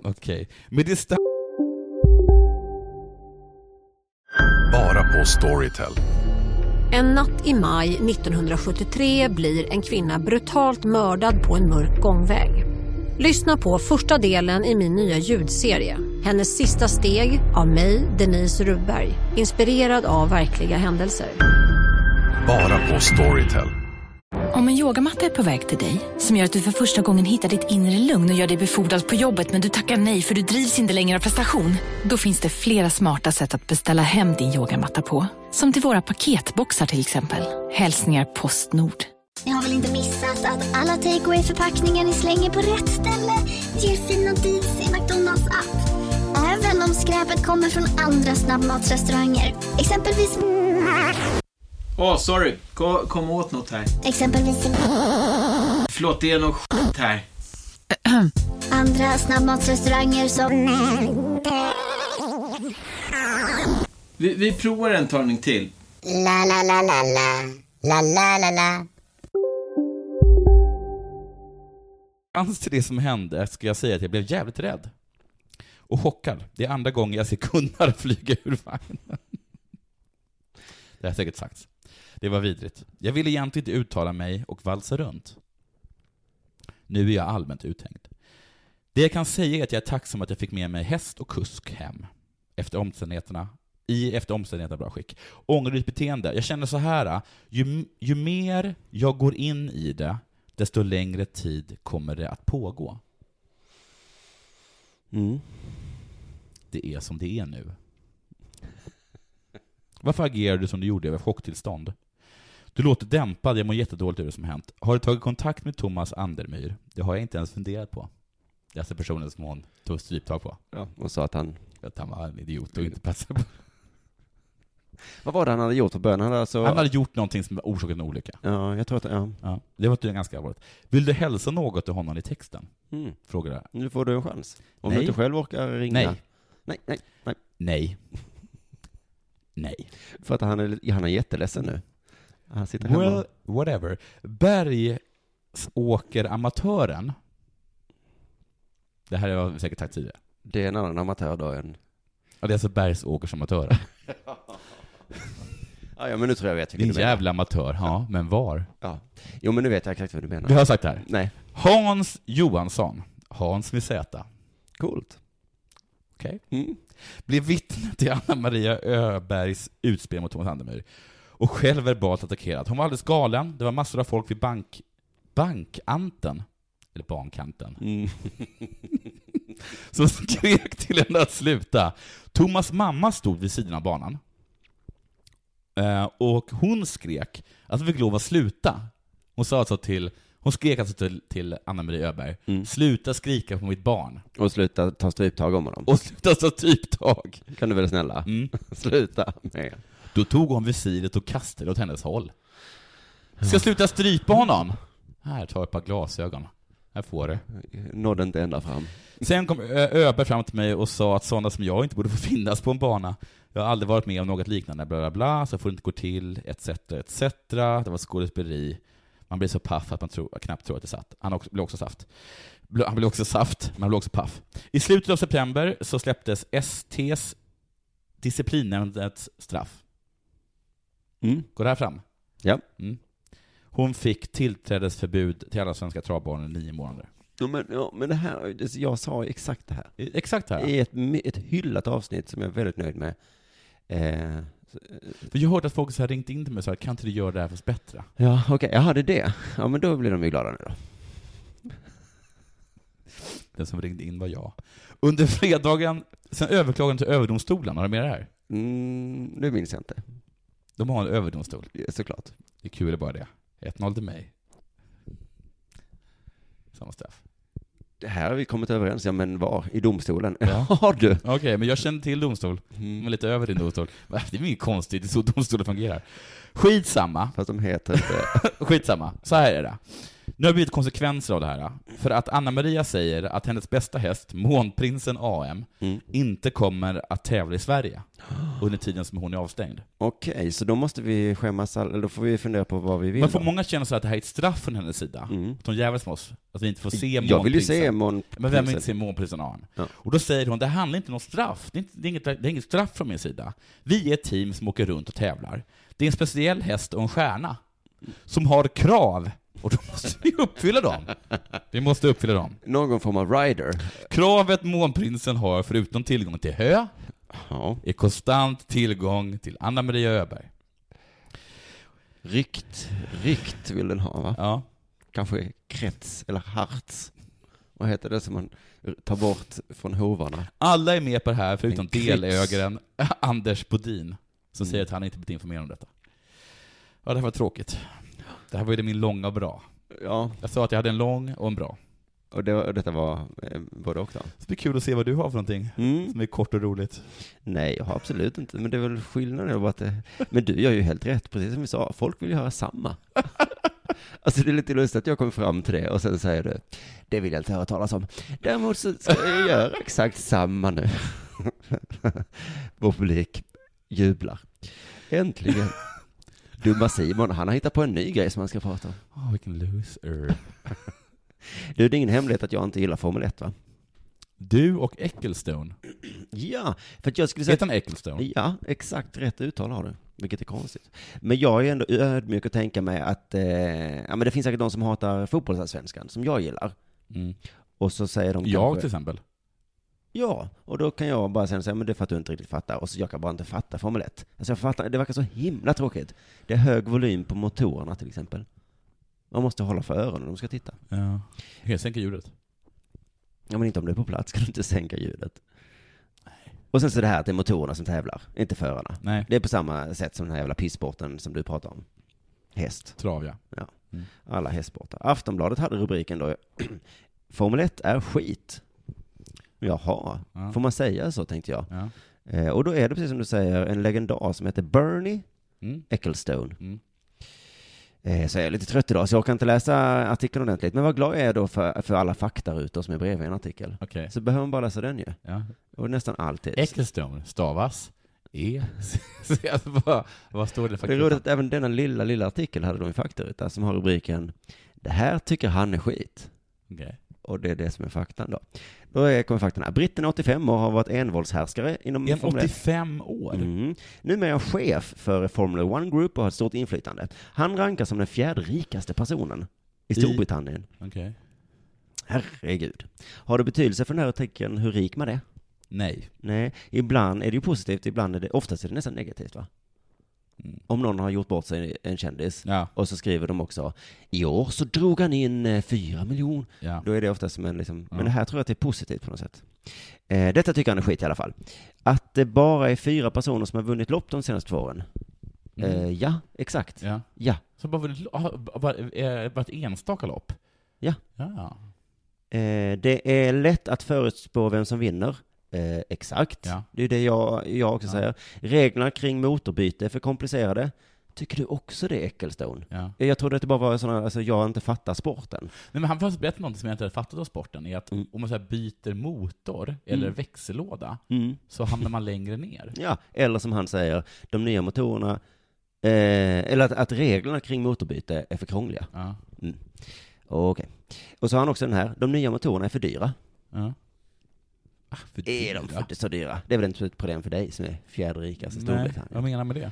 Speaker 5: Okej. Men det sta-
Speaker 6: Bara på Storytel.
Speaker 7: En natt i maj 1973 blir en kvinna brutalt mördad på en mörk gångväg. Lyssna på första delen i min nya ljudserie. Hennes sista steg av mig, Denise Rubberg. Inspirerad av verkliga händelser.
Speaker 6: Bara på Storytel.
Speaker 8: Om en yogamatta är på väg till dig, som gör att du för första gången hittar ditt inre lugn och gör dig befordrad på jobbet men du tackar nej för du drivs inte längre av prestation. Då finns det flera smarta sätt att beställa hem din yogamatta på. Som till våra paketboxar till exempel. Hälsningar Postnord.
Speaker 9: Ni har väl inte missat att alla takeaway förpackningar ni slänger på rätt ställe ger fina deals i McDonalds app. Även om skräpet kommer från andra snabbmatsrestauranger. Exempelvis...
Speaker 10: Åh, sorry. Kom, kom åt något här.
Speaker 9: Exempelvis...
Speaker 10: Förlåt, det är något skit här.
Speaker 9: Andra snabbmatsrestauranger som...
Speaker 10: Vi, vi provar en talning till.
Speaker 9: La, la, la, la, la. La, la, la, la.
Speaker 5: Ans till det som hände ska jag säga att jag blev jävligt rädd. Och chockad. Det är andra gången jag ser Gunnar flyga ur vagnen. Det har säkert sagts. Det var vidrigt. Jag ville egentligen inte uttala mig och valsa runt. Nu är jag allmänt uthängd. Det jag kan säga är att jag är tacksam att jag fick med mig häst och kusk hem. Efter omständigheterna. I efter omständigheterna bra skick. Ångerligt beteende. Jag känner så här. Ju, ju mer jag går in i det, desto längre tid kommer det att pågå.
Speaker 3: Mm.
Speaker 5: Det är som det är nu. Varför agerar du som du gjorde över chocktillstånd? Du låter dämpad, jag mår jättedåligt över det som hänt. Har du tagit kontakt med Thomas Andermyr? Det har jag inte ens funderat på. Det är alltså personen som hon tog stryptag på.
Speaker 3: Ja, och sa att han...
Speaker 5: Att han var en idiot och inte passade på.
Speaker 3: Vad var det han hade gjort på början? Han hade alltså...
Speaker 5: Han hade gjort någonting som orsakat en olycka.
Speaker 3: Ja, jag tror att... Ja.
Speaker 5: Ja, det var tydligen ganska allvarligt. Vill du hälsa något till honom i texten?
Speaker 3: Mm.
Speaker 5: Frågade jag.
Speaker 3: Nu får du en chans. Om du
Speaker 5: Nej.
Speaker 3: inte själv orkar ringa.
Speaker 5: Nej.
Speaker 3: Nej, nej, nej.
Speaker 5: Nej. Nej.
Speaker 3: För att han är, han är jätteledsen nu. Han sitter hemma.
Speaker 5: Well, whatever. Bergsåkeramatören. Det här har jag säkert sagt tidigare.
Speaker 3: Det är en annan amatör då än...
Speaker 5: Ja, det är alltså Bergsåkersamatören.
Speaker 3: Ja, ja, men nu tror jag jag vet vilken
Speaker 5: Din
Speaker 3: du menar.
Speaker 5: jävla amatör, ja, men var?
Speaker 3: Ja. Jo, men nu vet jag exakt vad du menar.
Speaker 5: Vi har sagt det här.
Speaker 3: Nej.
Speaker 5: Hans Johansson, Hans med Z.
Speaker 3: Coolt.
Speaker 5: Okej. Mm. Blev vittne till Anna-Maria Öbergs utspel mot Thomas Andermyr och själv verbalt attackerad. Hon var alldeles galen, det var massor av folk vid bank... bankanten, eller bankanten, som skrek till henne att sluta. Thomas mamma stod vid sidan av banan. Eh, och hon skrek att hon fick lov att sluta. Hon sa alltså till, hon skrek alltså till, till Anna-Marie Öberg, sluta skrika på mitt barn.
Speaker 3: Och sluta ta stryptag om honom.
Speaker 5: Och sluta ta typtag.
Speaker 3: Kan du väl snälla? sluta med.
Speaker 5: Då tog hon visiret och kastade det åt hennes håll. Ska jag sluta strypa honom? Här, ta ett par glasögon. Här får du.
Speaker 3: Nådde inte ända fram.
Speaker 5: Sen kom Ö- Öberg fram till mig och sa att sådana som jag inte borde få finnas på en bana. Jag har aldrig varit med om något liknande, bla bla bla, så får det inte gå till, etc, etc. Det var skådespeleri. Man blir så paff att man tror, knappt tror att det satt. Han också, blev också saft. Bl- Han blev också saft, men han blev också paff. I slutet av september så släpptes STs disciplinnämndens straff.
Speaker 3: Mm.
Speaker 5: Går det här fram?
Speaker 3: Ja.
Speaker 5: Mm. Hon fick tillträdesförbud till alla svenska travbanor i nio månader.
Speaker 3: Ja, men, ja, men det här, det- jag sa exakt det här.
Speaker 5: Exakt det här.
Speaker 3: I ett, ett hyllat avsnitt som jag är väldigt nöjd med. Eh, så-
Speaker 5: För jag hörde att folk så här ringt in till mig och sa kan inte du göra det här fast bättre?
Speaker 3: ja, okej, jaha det är det. Ja, men då blir de ju glada nu då.
Speaker 5: Den som ringde in var jag. Under fredagen, sen överklagade till överdomstolen, har du med det här?
Speaker 3: Mm, det minns jag inte.
Speaker 5: De har en överdomstol.
Speaker 3: Såklart.
Speaker 5: Det är kul är bara det. 1-0 till mig. Samma straff.
Speaker 3: Det här har vi kommit överens, ja men var? I domstolen? Har du?
Speaker 5: Okej, men jag känner till domstol.
Speaker 3: Mm.
Speaker 5: Men lite över din domstol. Va, Det är väl inget konstigt, det är så domstolar fungerar. Skitsamma.
Speaker 3: Fast de heter inte...
Speaker 5: Skitsamma. Så här är det. Nu har det blivit konsekvenser av det här. För att Anna-Maria säger att hennes bästa häst, Månprinsen AM,
Speaker 3: Mm.
Speaker 5: inte kommer att tävla i Sverige under tiden som hon är avstängd.
Speaker 3: Okej, så då måste vi skämmas, all... eller då får vi fundera på vad vi vill.
Speaker 5: Men får
Speaker 3: då.
Speaker 5: många känna så att det här är ett straff från hennes sida? Att hon jävlas med oss? Att vi inte får se
Speaker 3: Mm. Jag
Speaker 5: Månprinsen?
Speaker 3: vill ju se Månprinsen.
Speaker 5: Men vem vill inte se Månprinsen AM? Och då säger hon, det handlar inte om något straff. Det är, inte, det, är inget, det är inget straff från min sida. Vi är ett team som åker runt och tävlar. Det är en speciell häst och en stjärna som har krav. Och då måste vi uppfylla dem. Vi måste uppfylla dem.
Speaker 3: Någon form av rider.
Speaker 5: Kravet Månprinsen har, förutom tillgång till hö, är konstant tillgång till Anna-Maria Öberg.
Speaker 3: Rykt, rykt vill den ha va?
Speaker 5: Ja.
Speaker 3: Kanske krets eller harts. Vad heter det som man tar bort från hovarna?
Speaker 5: Alla är med på det här förutom
Speaker 3: En Mm. krips.
Speaker 5: delägaren Anders Bodin, som säger att han inte blivit informerad om detta. Ja, det här var tråkigt. Det här var ju min långa och bra.
Speaker 3: Ja.
Speaker 5: Jag sa att jag hade en lång och en bra.
Speaker 3: Och det, och detta var eh, både och då? Mm.
Speaker 5: Så det blir kul att se vad du har för någonting som är kort och roligt.
Speaker 3: Nej, jag har absolut inte. Men det är väl skillnaden är bara att det... Men du gör ju helt rätt, precis som vi sa. Folk vill ju höra samma. Alltså det är lite lustigt att jag kom fram till det och sen säger du, det vill jag inte höra talas om. Däremot så ska jag göra exakt samma nu. Vår publik jublar. Äntligen. Dumma Simon, han har hittat på en ny grej som han ska prata om.
Speaker 5: Åh, vilken loser.
Speaker 3: Du, det är ingen hemlighet att jag inte gillar Formel 1 va?
Speaker 5: Du och Ecclestone.
Speaker 3: Ja, för att jag skulle säga...
Speaker 5: Heter han Ecclestone?
Speaker 3: Ja, exakt rätt uttal har du, vilket är konstigt. Men jag är ändå ödmjuk och tänker mig att, eh, ja men det finns säkert de som hatar fotbollsallsvenskan, som jag gillar. Och så säger de
Speaker 5: Jag
Speaker 3: kanske-
Speaker 5: Mm. till exempel.
Speaker 3: Ja, och då kan jag bara sen säga, men det är för att du inte riktigt fattar. Och så jag kan bara inte fatta Formel 1. Alltså jag fattar, det verkar så himla tråkigt. Det är hög volym på motorerna till exempel. Man måste hålla för öronen om de ska titta.
Speaker 5: Ja. Jag sänker ljudet.
Speaker 3: Ja, men inte om du är på plats kan du inte sänka ljudet. Och sen så det här att det är motorerna som tävlar, inte förarna.
Speaker 5: Nej.
Speaker 3: Det är på samma sätt som den här jävla pisssporten som du pratar om. Häst.
Speaker 5: Trav, ja.
Speaker 3: ja.
Speaker 5: Mm.
Speaker 3: Alla hästsportar. Aftonbladet hade rubriken då, Formel 1 är skit. Jaha,
Speaker 5: Ja.
Speaker 3: får man säga så tänkte jag.
Speaker 5: Ja.
Speaker 3: Eh, och då är det precis som du säger, en legendar som heter Bernie
Speaker 5: Mm.
Speaker 3: Ecclestone.
Speaker 5: Mm.
Speaker 3: Eh, Så jag är lite trött idag, så jag kan inte läsa artikeln ordentligt. Men vad glad jag är då för, för alla fakta ute som är bredvid en artikel.
Speaker 5: Okej.
Speaker 3: Så behöver man bara läsa den ju.
Speaker 5: Ja.
Speaker 3: Och nästan alltid.
Speaker 5: Ecclestone stavas E... alltså, vad, vad står det
Speaker 3: Det
Speaker 5: för
Speaker 3: är roligt att även denna lilla, lilla artikel hade då en faktaruta som har rubriken Det här tycker han är skit.
Speaker 5: Okej.
Speaker 3: Och det är det som är faktan då. Då är- kommer faktan här. Britten 85 år har varit envåldshärskare inom
Speaker 5: En
Speaker 3: Formel 1.
Speaker 5: 85 år?
Speaker 3: Mm. Numera är han chef för Formula One Group och har ett stort inflytande. Han rankas som den fjärde rikaste personen i Storbritannien.
Speaker 5: Okej.
Speaker 3: Herregud. Har det betydelse för den här artikeln hur rik man är?
Speaker 5: Nej.
Speaker 3: Nej, ibland är det ju positivt, ibland är det, oftast är det nästan negativt va? Om någon har gjort bort sig, en kändis, och så skriver de också i år så drog han in eh, fyra miljoner.
Speaker 5: Ja.
Speaker 3: Då är det oftast som en liksom, men det här tror jag att det är positivt på något sätt. Eh, detta tycker han är skit i alla fall. Att det bara är fyra personer som har vunnit lopp de senaste två åren. Eh, ja, exakt.
Speaker 5: Mm. Ja.
Speaker 3: ja.
Speaker 5: Så bara, bara, bara, eh, bara ett enstaka lopp?
Speaker 3: Ja.
Speaker 5: Ja.
Speaker 3: Eh, det är lätt att förutspå vem som vinner. Eh, exakt.
Speaker 5: Ja.
Speaker 3: Det är det jag, jag också säger. Reglerna kring motorbyte är för komplicerade. Tycker du också det, Ecclestone?
Speaker 5: Ja.
Speaker 3: Jag trodde att det bara var sådana, alltså jag inte fattar sporten.
Speaker 5: Nej, men han har berättat något som jag inte hade fattat av sporten, är att om man så här byter motor eller
Speaker 3: Mm.
Speaker 5: växellåda,
Speaker 3: Mm.
Speaker 5: så hamnar man längre ner.
Speaker 3: Ja, eller som han säger, de nya motorerna, eh, eller att, att reglerna kring motorbyte är för krångliga.
Speaker 5: Ja.
Speaker 3: Mm. Okej. Och så har han också den här, de nya motorerna är för dyra.
Speaker 5: Ja. Ah,
Speaker 3: Är de för, så dyra? Det är väl inte ett problem för dig som är fjärde rikaste i
Speaker 5: Nej,
Speaker 3: Storbritannien?
Speaker 5: vad menar han med det?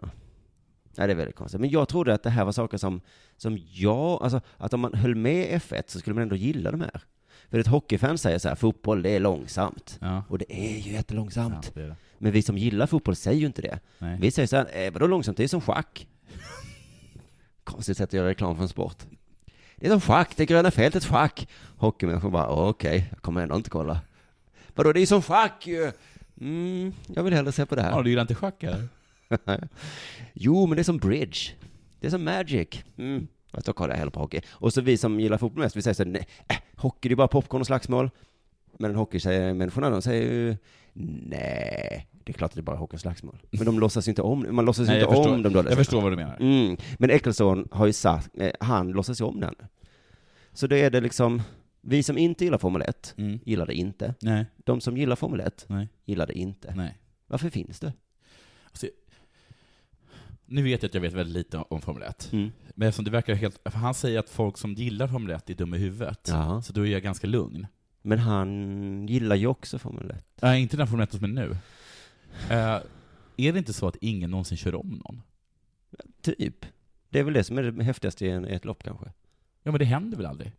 Speaker 3: Ja. Nej, det är väldigt konstigt. Men jag trodde att det här var saker som, som jag, alltså att om man höll med F1 så skulle man ändå gilla de här. För ett hockeyfan säger så här, fotboll det är långsamt. Och det är ju jättelångsamt.
Speaker 5: Ja, det är det.
Speaker 3: Men vi som gillar fotboll säger ju inte det.
Speaker 5: Nej.
Speaker 3: Vi säger så här, eh, vadå långsamt, det är som schack. Konstigt sätt att göra reklam för en sport. Det är som schack, det gröna fältet schack. Hockeymänniskor bara, "Åh, okej, jag kommer ändå inte kolla. Vadå, det är som schack ju! Mm, jag vill hellre se på det här.
Speaker 5: Ja, du gillar inte schack eller?
Speaker 3: jo, men det är som bridge. Det är som magic. Mm. Fast då kollar jag hellre på hockey. Och så vi som gillar fotboll mest, vi säger så här, nej, äh, hockey det är bara popcorn och slagsmål. Men hockeymänniskorna, de säger ju, nej, det är klart att det är bara hockey och slagsmål. Men de låtsas ju inte om det. Man låtsas ju
Speaker 5: Nej,
Speaker 3: inte
Speaker 5: jag förstår.
Speaker 3: om de dåliga Mm.
Speaker 5: Jag förstår
Speaker 3: sakerna.
Speaker 5: vad du menar.
Speaker 3: Mm. Men Eccleston har ju sagt, eh, han låtsas ju om den. Så då är det liksom, vi som inte gillar Formel 1 gillar det inte.
Speaker 5: Mm. Nej.
Speaker 3: De som gillar Formel 1
Speaker 5: Nej.
Speaker 3: gillar det inte.
Speaker 5: Nej.
Speaker 3: Varför finns det?
Speaker 5: Alltså, nu vet jag att jag vet väldigt lite om Formel 1. Men eftersom det verkar helt... för Han säger att folk som gillar Formel 1 är dumma i huvudet. Så då är jag ganska lugn.
Speaker 3: Men han gillar ju också Formel 1.
Speaker 5: Nej, inte den Formel 1 som är nu. Eh, är det inte så att ingen någonsin kör om någon?
Speaker 3: Typ. Det är väl det som är det häftigaste i en- i ett lopp kanske.
Speaker 5: Ja, men det händer väl aldrig?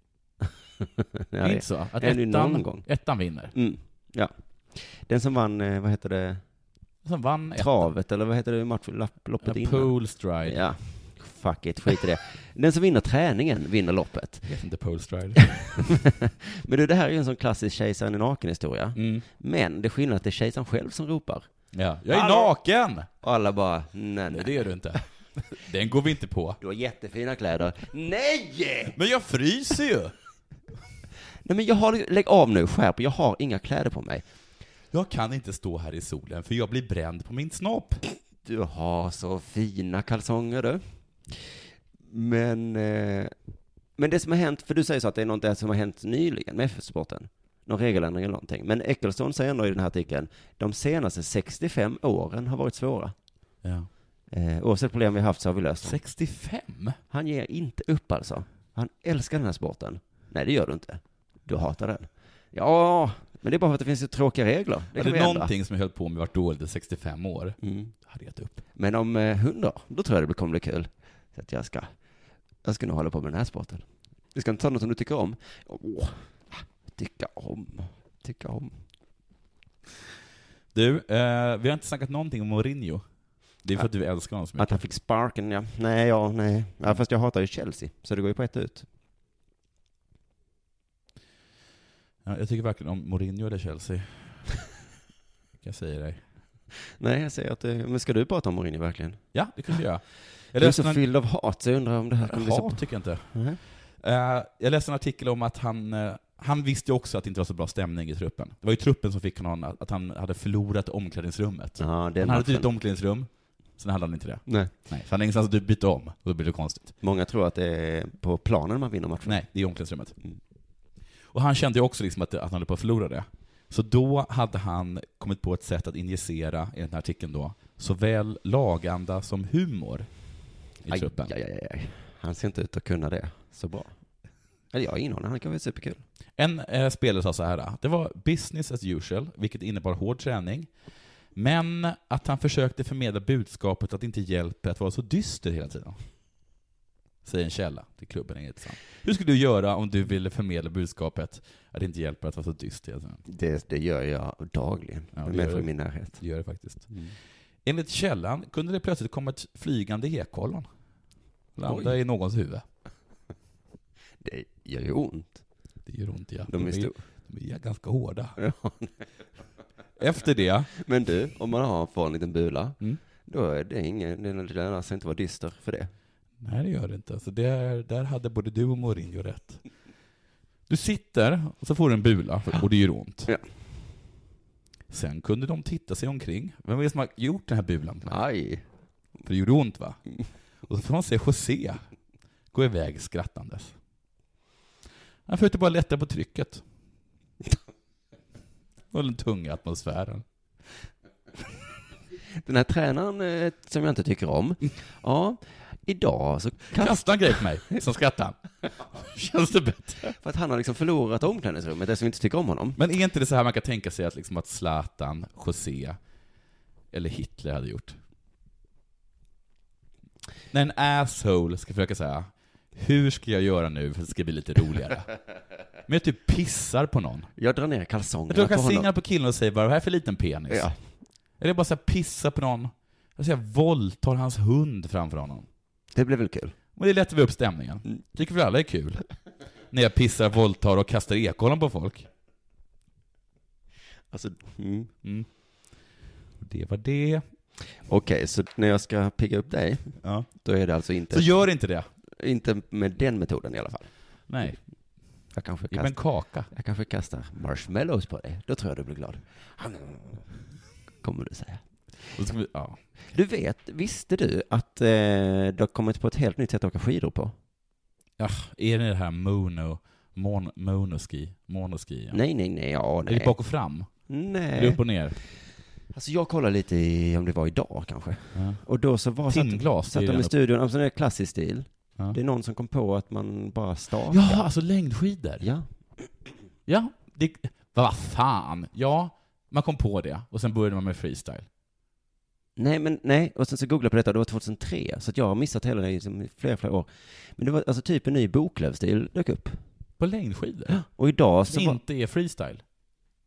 Speaker 3: det
Speaker 5: är inte så. Att
Speaker 3: det är ju
Speaker 5: ettan-
Speaker 3: någon gång.
Speaker 5: ettan vinner.
Speaker 3: Mm. Ja. Den som vann, eh, vad heter det?
Speaker 5: Som vann ettan.
Speaker 3: Travet, eller vad heter det match, lapp, loppet
Speaker 5: Ja,
Speaker 3: innan?
Speaker 5: pole stride.
Speaker 3: Ja. Fuck it, skit i det. Den som vinner träningen vinner loppet.
Speaker 5: Jag vet inte, pole stride.
Speaker 3: Men du, det här är ju en sån klassisk kejsaren i naken-historia.
Speaker 5: Mm.
Speaker 3: Men det är skillnad att det är kejsaren själv som ropar.
Speaker 5: Ja, jag är
Speaker 3: Hallå!
Speaker 5: naken!
Speaker 3: Och alla bara, nej, nej.
Speaker 5: Det är du inte. Den går vi inte på.
Speaker 3: Du har jättefina kläder. Nej!
Speaker 5: Men jag fryser ju!
Speaker 3: Nej men jag har, lägg av nu, skärp Jag har inga kläder på mig.
Speaker 5: Jag kan inte stå här i solen för jag blir bränd på min snopp.
Speaker 3: Du har så fina kalsonger du. Men, eh, men det som har hänt, för du säger så att det är något där som har hänt nyligen med FF-sporten. Någon regeländring eller någonting. Men Eccleston säger ändå i den här artikeln, de senaste 65 åren har varit svåra.
Speaker 5: Ja.
Speaker 3: Eh, oavsett problem vi har haft så har vi löst dem.
Speaker 5: 65?
Speaker 3: Han ger inte upp alltså. Han älskar den här sporten. Nej, det gör du inte. Du hatar den. Ja, men det är bara för att det finns ju tråkiga regler. Det
Speaker 5: Det
Speaker 3: kan
Speaker 5: hade
Speaker 3: vi ändra. Mm.
Speaker 5: någonting som jag höll på med varit dåligt i 65 år, hade jag gett upp.
Speaker 3: Men om eh, hundra år, då tror jag det kommer bli kul. Så att jag ska, jag ska nog hålla på med den här sporten. Du ska inte ta något som du tycker om. Åh, tycka om, tycka om.
Speaker 5: Du, eh, vi har inte snackat någonting om Mourinho. Det är för att du älskar honom så mycket.
Speaker 3: Att han fick sparken, ja. Nej, ja, nej. Ja, fast jag hatar ju Chelsea, så det går ju på ett ut.
Speaker 5: Ja, jag tycker verkligen om Mourinho eller Chelsea. jag säger dig.
Speaker 3: Nej, jag säger att, eh, men ska du prata om Mourinho verkligen?
Speaker 5: Ja, det kunde jag göra. Jag
Speaker 3: Du är
Speaker 5: läste
Speaker 3: så
Speaker 5: en-
Speaker 3: fylld av hat, så jag undrar om det här kommer bli så... Mm.
Speaker 5: Hat tycker jag inte.
Speaker 3: Nej.
Speaker 5: Eh, jag läste en artikel om att han, eh, han visste ju också att det inte var så bra stämning i truppen. Det var ju truppen som fick honom att, att han hade förlorat omklädningsrummet.
Speaker 3: Ja, den
Speaker 5: han hade
Speaker 3: matchen.
Speaker 5: ett omklädningsrum, sen hade han inte det.
Speaker 3: Nej.
Speaker 5: Nej, så han hade ingenstans att byta om, och då blir det konstigt.
Speaker 3: Många tror att det är på planen man vinner matchen.
Speaker 5: Nej, det är omklädningsrummet.
Speaker 3: Mm.
Speaker 5: Och han kände ju också liksom att, att han höll på att förlora det. Så då hade han kommit på ett sätt att injicera, i den här artikeln då, såväl laganda som humor i
Speaker 3: Aj,
Speaker 5: truppen.
Speaker 3: aj, aj, aj. Han ser inte ut att kunna det så bra. Eller jag har ingen aning, han kan vara superkul.
Speaker 5: En eh, spelare sa så här, det var business as usual, vilket innebar hård träning, men att han försökte förmedla budskapet att det inte hjälper att vara så dyster hela tiden. Säger en källa till klubben är intressant. Hur skulle du göra om du ville förmedla budskapet att det inte hjälper att vara så dyster hela tiden?
Speaker 3: Det, det gör jag dagligen.
Speaker 5: Ja,
Speaker 3: Ja,
Speaker 5: det
Speaker 3: det
Speaker 5: gör
Speaker 3: är i
Speaker 5: det.
Speaker 3: min närhet.
Speaker 5: Det gör det faktiskt.
Speaker 3: Mm.
Speaker 5: Enligt källan kunde det plötsligt komma ett flygande ekollon. Landa
Speaker 3: Oj.
Speaker 5: i någons huvud.
Speaker 3: Det gör ju ont.
Speaker 5: Det gör ont ja.
Speaker 3: De är stor.
Speaker 5: de är ganska hårda.
Speaker 3: Ja.
Speaker 5: Efter det.
Speaker 3: Men du, om man har får en liten bula,
Speaker 5: Mm.
Speaker 3: då är det ingen, det lönar sig inte att vara dyster för det.
Speaker 5: Nej, det gör det inte. Alltså, där, där hade både du och Mourinho rätt. Du sitter och så får du en bula och det gör ont.
Speaker 3: Ja.
Speaker 5: Sen kunde de titta sig omkring. Vem är det som har gjort den här bulan? på mig?
Speaker 3: Aj.
Speaker 5: För det gjorde ont va? Och så får man se José gå iväg skrattandes. Han försökte bara lätta på trycket. Och den tunga atmosfären.
Speaker 3: Den här tränaren eh, som jag inte tycker om,
Speaker 5: Mm.
Speaker 3: ja, idag så
Speaker 5: Kasta en grej på mig, så skrattar han. Känns det bättre?
Speaker 3: För att han har liksom förlorat omklädningsrummet, eftersom vi inte tycker om honom.
Speaker 5: Men är inte det så här man kan tänka sig att, liksom att Zlatan, José eller Hitler hade gjort? När en asshole ska försöka säga hur ska jag göra nu för att det ska bli lite roligare? Men jag typ pissar på någon.
Speaker 3: Jag drar ner kalsongerna
Speaker 5: Jag tror jag
Speaker 3: på
Speaker 5: kan
Speaker 3: honom.
Speaker 5: singla på killen och säga vad är det här för liten penis?
Speaker 3: Ja.
Speaker 5: Eller bara så här pissa på någon. Alltså jag våldtar hans hund framför honom.
Speaker 3: Det blev väl kul?
Speaker 5: Och det lättar vi upp
Speaker 3: Mm.
Speaker 5: stämningen. Tycker väl alla är kul? När jag pissar, våldtar och kastar ekollon på folk.
Speaker 3: Alltså, mm.
Speaker 5: Det var det.
Speaker 3: Okej, så när jag ska pigga upp dig,
Speaker 5: Ja.
Speaker 3: då är det alltså inte...
Speaker 5: Så gör inte det.
Speaker 3: Inte med den metoden i alla fall.
Speaker 5: Nej.
Speaker 3: Jag kanske
Speaker 5: Ge mig en
Speaker 3: kastar,
Speaker 5: kaka.
Speaker 3: jag kanske kastar marshmallows på dig. Då tror jag du blir glad. Kommer du säga.
Speaker 5: Och så ska vi, ja.
Speaker 3: Du vet, visste du att eh, du har kommit på ett helt nytt sätt att åka skidor på?
Speaker 5: Ja, är det det här mono Mon, monoski. Monoski, ja.
Speaker 3: Nej, nej, nej, ja, nej.
Speaker 5: Är det bak och fram?
Speaker 3: Nej.
Speaker 5: Är det upp och ner?
Speaker 3: Alltså jag kollade lite i, om det var idag kanske.
Speaker 5: Ja.
Speaker 3: Och då så var
Speaker 5: Timglas,
Speaker 3: satt, satt
Speaker 5: det är ju
Speaker 3: de i
Speaker 5: den-
Speaker 3: studion, alltså det är klassisk stil.
Speaker 5: Ja.
Speaker 3: Det är någon som kom på att man bara stakar.
Speaker 5: Jaha, alltså längdskidor?
Speaker 3: Ja.
Speaker 5: Ja, det... Vad fan? Ja, man kom på det och sen började man med freestyle.
Speaker 3: Nej, men nej, och sen så googlade jag på detta, det var 2003, så att jag har missat hela det liksom, i flera, flera år. Men det var alltså typ en ny Boklövstil dök upp.
Speaker 5: På längdskidor?
Speaker 3: Och idag så
Speaker 5: Som
Speaker 3: var,
Speaker 5: inte är freestyle?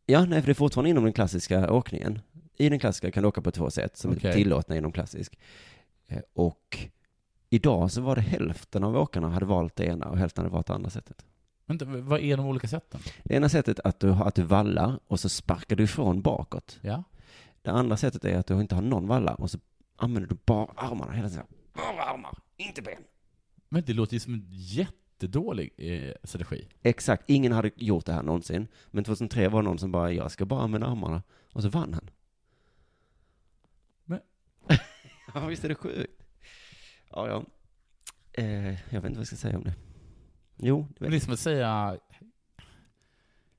Speaker 3: Ja, nej, för det är fortfarande inom den klassiska åkningen. I den klassiska kan du åka på två sätt som
Speaker 5: Okej.
Speaker 3: är tillåtna inom klassisk. Eh, Och idag så var det hälften av åkarna hade valt det ena och hälften hade valt det andra sättet.
Speaker 5: Vänta, vad är de olika sätten?
Speaker 3: Det ena sättet är att du, att du vallar och så sparkar du ifrån bakåt.
Speaker 5: Ja.
Speaker 3: Det andra sättet är att du inte har någon valla och så använder du bara armarna hela tiden. Bara armar, inte ben.
Speaker 5: Men det låter ju som en jättedålig eh, strategi.
Speaker 3: Exakt, ingen hade gjort det här någonsin. Men 2003 var det någon som bara, jag ska bara använda armarna. Och så vann han.
Speaker 5: Men-
Speaker 3: ja, visst är det sjukt? Ja, ja. Eh, jag vet inte vad jag ska säga om det. Jo, det vet
Speaker 5: Men det är
Speaker 3: jag.
Speaker 5: som att säga...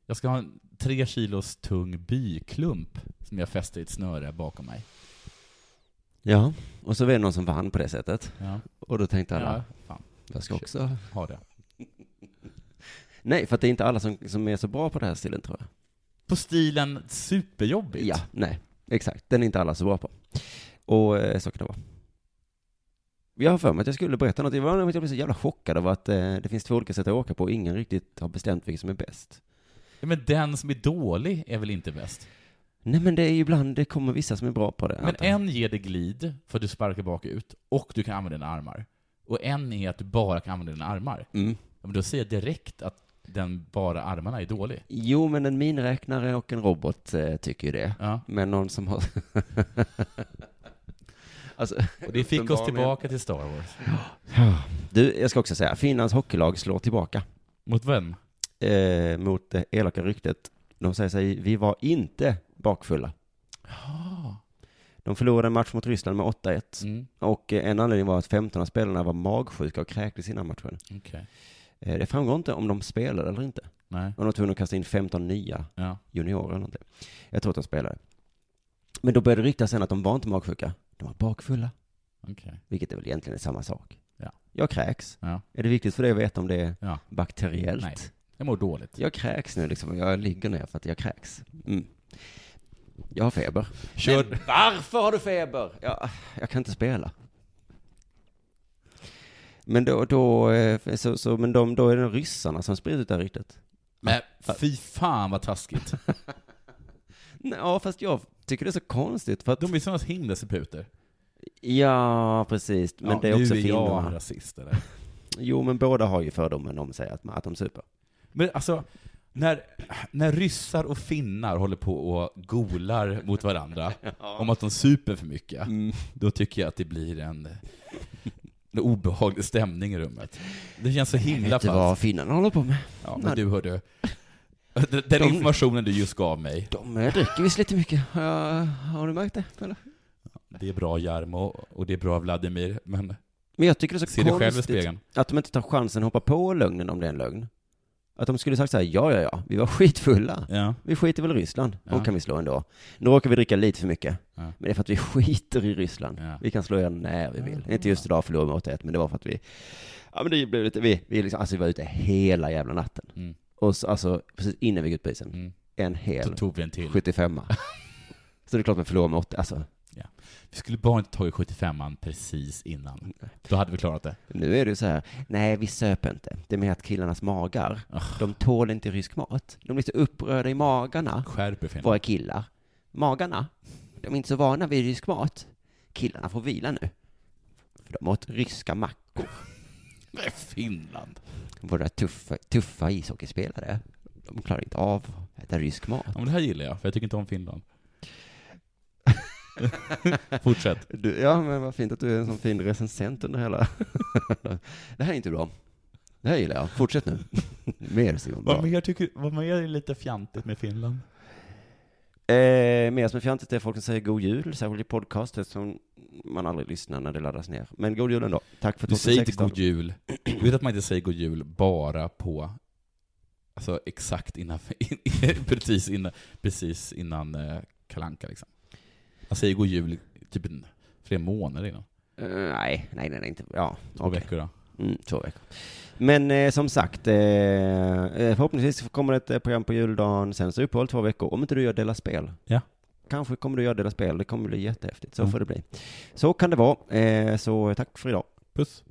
Speaker 5: Jag ska ha en tre kilos tung byklump som jag fäster i ett snöre bakom mig.
Speaker 3: Ja, och så var det någon som vann på det sättet.
Speaker 5: Ja.
Speaker 3: Och då tänkte alla,
Speaker 5: Ja, fan.
Speaker 3: jag ska också...
Speaker 5: Ha det.
Speaker 3: Nej, för att det är inte alla som, som är så bra på det här stilen tror jag.
Speaker 5: På stilen superjobbigt.
Speaker 3: Ja, nej, exakt. Den är inte alla så bra på. Och eh, så kan det vara. Jag har för mig att jag skulle berätta något. Jag var- jag blev så jävla chockad av att eh, det finns två olika sätt att åka på och ingen riktigt har bestämt vilket som är bäst.
Speaker 5: Ja, Men den som är dålig är väl inte bäst?
Speaker 3: Nej, men det är ju ibland, det kommer vissa som är bra på det.
Speaker 5: Men
Speaker 3: antar jag.
Speaker 5: en ger dig glid för att du sparkar bakut och du kan använda dina armar. Och en är att du bara kan använda dina armar.
Speaker 3: Mm.
Speaker 5: Ja, Men då säger jag direkt att den bara armarna är dålig.
Speaker 3: Jo, men en miniräknare och en robot eh, tycker ju det.
Speaker 5: Ja.
Speaker 3: Men någon som har... alltså,
Speaker 5: Och det fick oss
Speaker 3: uppenbarligen.
Speaker 5: tillbaka till Star Wars.
Speaker 3: Du, jag ska också säga, Finlands hockeylag slår tillbaka.
Speaker 5: Mot vem?
Speaker 3: eh, mot det elaka ryktet. De säger sig, vi var inte bakfulla. Ah. De förlorade en match mot Ryssland med 8-1.
Speaker 5: Mm.
Speaker 3: Och eh, en anledning var att 15 av spelarna var magsjuka och kräktes innan matchen.
Speaker 5: Okej.
Speaker 3: Eh, Det framgår inte om de spelade eller inte.
Speaker 5: Nej.
Speaker 3: Om de var tvungna att kasta in 15 nya
Speaker 5: Ja.
Speaker 3: juniorer eller någonting. Jag tror att de spelade. Men då började det ryktas sen att de var inte magsjuka. De var bakfulla.
Speaker 5: Okej.
Speaker 3: Vilket är väl egentligen är samma sak.
Speaker 5: Ja.
Speaker 3: Jag kräks.
Speaker 5: Ja.
Speaker 3: Är det viktigt för dig att veta om det är
Speaker 5: Ja.
Speaker 3: bakteriellt?
Speaker 5: Nej. Jag mår dåligt.
Speaker 3: Jag kräks nu liksom, jag ligger ner för att jag kräks. Mm. Jag har feber.
Speaker 5: Kör.
Speaker 3: Men varför har du feber? Jag, jag kan inte spela. Men då, då, eh, så, så, men de, då är det ryssarna som sprider ut det här ryktet.
Speaker 5: Men fy fan vad taskigt.
Speaker 3: Nej, Ja, fast jag tycker det är så konstigt för att,
Speaker 5: De är sådana himla seputer.
Speaker 3: ja precis, men
Speaker 5: Ja,
Speaker 3: det är också
Speaker 5: Nu är jag en
Speaker 3: finnarna.
Speaker 5: rasist eller?
Speaker 3: Jo, men båda har ju fördomen om sig att, man- att de super.
Speaker 5: Men alltså, när, när ryssar och finnar håller på och golar mot varandra om att de super för mycket, då tycker jag att det blir en, en obehaglig stämning i rummet. Det känns så himla
Speaker 3: Vet du vad
Speaker 5: falskt.
Speaker 3: finnarna håller på med?
Speaker 5: Ja, men du hörde, den den informationen du just gav mig,
Speaker 3: De eh, dricker visst lite mycket. Har jag- har du märkt det? Eller?
Speaker 5: det är bra Jarmo och det är bra Vladimir, men
Speaker 3: Men jag tycker det är typ- så
Speaker 5: se dig själv i
Speaker 3: konstigt.
Speaker 5: spegeln.
Speaker 3: Att de inte tar chansen att hoppa på lögnen om det är en lögn. Att de skulle sagt så här, ja, ja, ja, vi var skitfulla.
Speaker 5: Ja.
Speaker 3: Vi skiter väl i Ryssland.
Speaker 5: Ja.
Speaker 3: De kan vi slå ändå. Nu råkar vi dricka lite för mycket.
Speaker 5: Ja.
Speaker 3: Men det är för att vi skiter i Ryssland.
Speaker 5: Ja.
Speaker 3: Vi kan slå er när vi vill. Inte just idag förlorade vi mot ett, men det var för att vi... Ja, men det blev lite... Vi, vi liksom, alltså vi var ute hela jävla natten.
Speaker 5: Mm.
Speaker 3: Och så, alltså, precis innan vi gick ut på isen.
Speaker 5: Mm.
Speaker 3: En
Speaker 5: Så
Speaker 3: hel
Speaker 5: tog vi en till.
Speaker 3: 75 Så det är klart man förlorar med 80, alltså.
Speaker 5: Vi skulle bara inte tagit 75an precis innan. Då hade vi klarat det.
Speaker 3: Nu är det ju så här, nej vi söp inte. Det är mer att killarnas magar, de tål inte rysk mat. De blir så upprörda i magarna,
Speaker 5: Skärp er finnar.
Speaker 3: våra killar. Magarna, de är inte så vana vid rysk mat. Killarna får vila nu. För de åt ryska mackor.
Speaker 5: Finland.
Speaker 3: Våra tuffa, tuffa ishockeyspelare, de klarar inte av att äta rysk
Speaker 5: Ja,
Speaker 3: mat.
Speaker 5: men det här gillar jag, för jag tycker inte om Finland. Fortsätt.
Speaker 3: Du, ja, men vad fint att du är en sån fin recensent under hela... det här är inte bra. Det här gillar jag. Fortsätt nu. Mer Simon. Bra.
Speaker 5: Vad mer, tycker, vad mer är lite fjantigt med Finland?
Speaker 3: Eh, mer som är fjantigt är folk som säger god jul, särskilt i podcast eftersom man aldrig lyssnar när det laddas ner. Men god jul ändå. Tack för
Speaker 5: Du säger inte
Speaker 3: 2016.
Speaker 5: god jul. Du vet att man inte säger god jul bara på Alltså exakt innan, precis innan, precis innan eh, Kalle Anka liksom. Han säger god jul typ en, flera månader innan.
Speaker 3: Eh, nej, nej, nej, nej, inte. Ja,
Speaker 5: Två veckor då.
Speaker 3: Mm, två veckor. Men eh, som sagt, eh, eh, förhoppningsvis kommer det ett eh, program på juldagen, sen så uppehåll två veckor, om inte du gör Dela Spel.
Speaker 5: Ja.
Speaker 3: Kanske kommer du göra Dela Spel, det kommer bli jättehäftigt. Så
Speaker 5: Mm.
Speaker 3: får det bli. Så kan det vara. Eh, så tack för idag.
Speaker 5: Puss.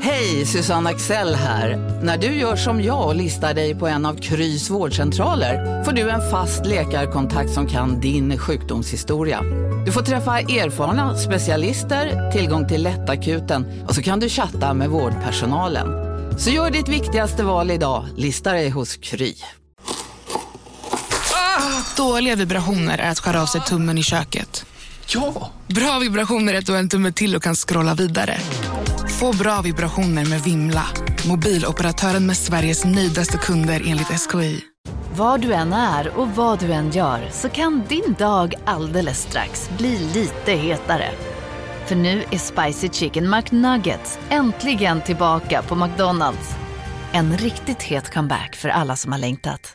Speaker 11: Hej, Susanne Axel här. När du gör som jag och listar dig på en av Krys vårdcentraler får du en fast läkarkontakt som kan din sjukdomshistoria. Du får träffa erfarna specialister, tillgång till lättakuten och så kan du chatta med vårdpersonalen. Så gör ditt viktigaste val idag, listar dig hos Kry.
Speaker 12: Dåliga vibrationer är att skära av sig tummen i köket.
Speaker 13: Ja!
Speaker 12: Bra vibrationer är att du har en tumme till och kan scrolla vidare. Få bra vibrationer med Vimla. Mobiloperatören med Sveriges nöjdaste kunder enligt SKI.
Speaker 14: Var du än är och vad du än gör så kan din dag alldeles strax bli lite hetare. För nu är Spicy Chicken McNuggets äntligen tillbaka på McDonalds. En riktigt het comeback för alla som har längtat.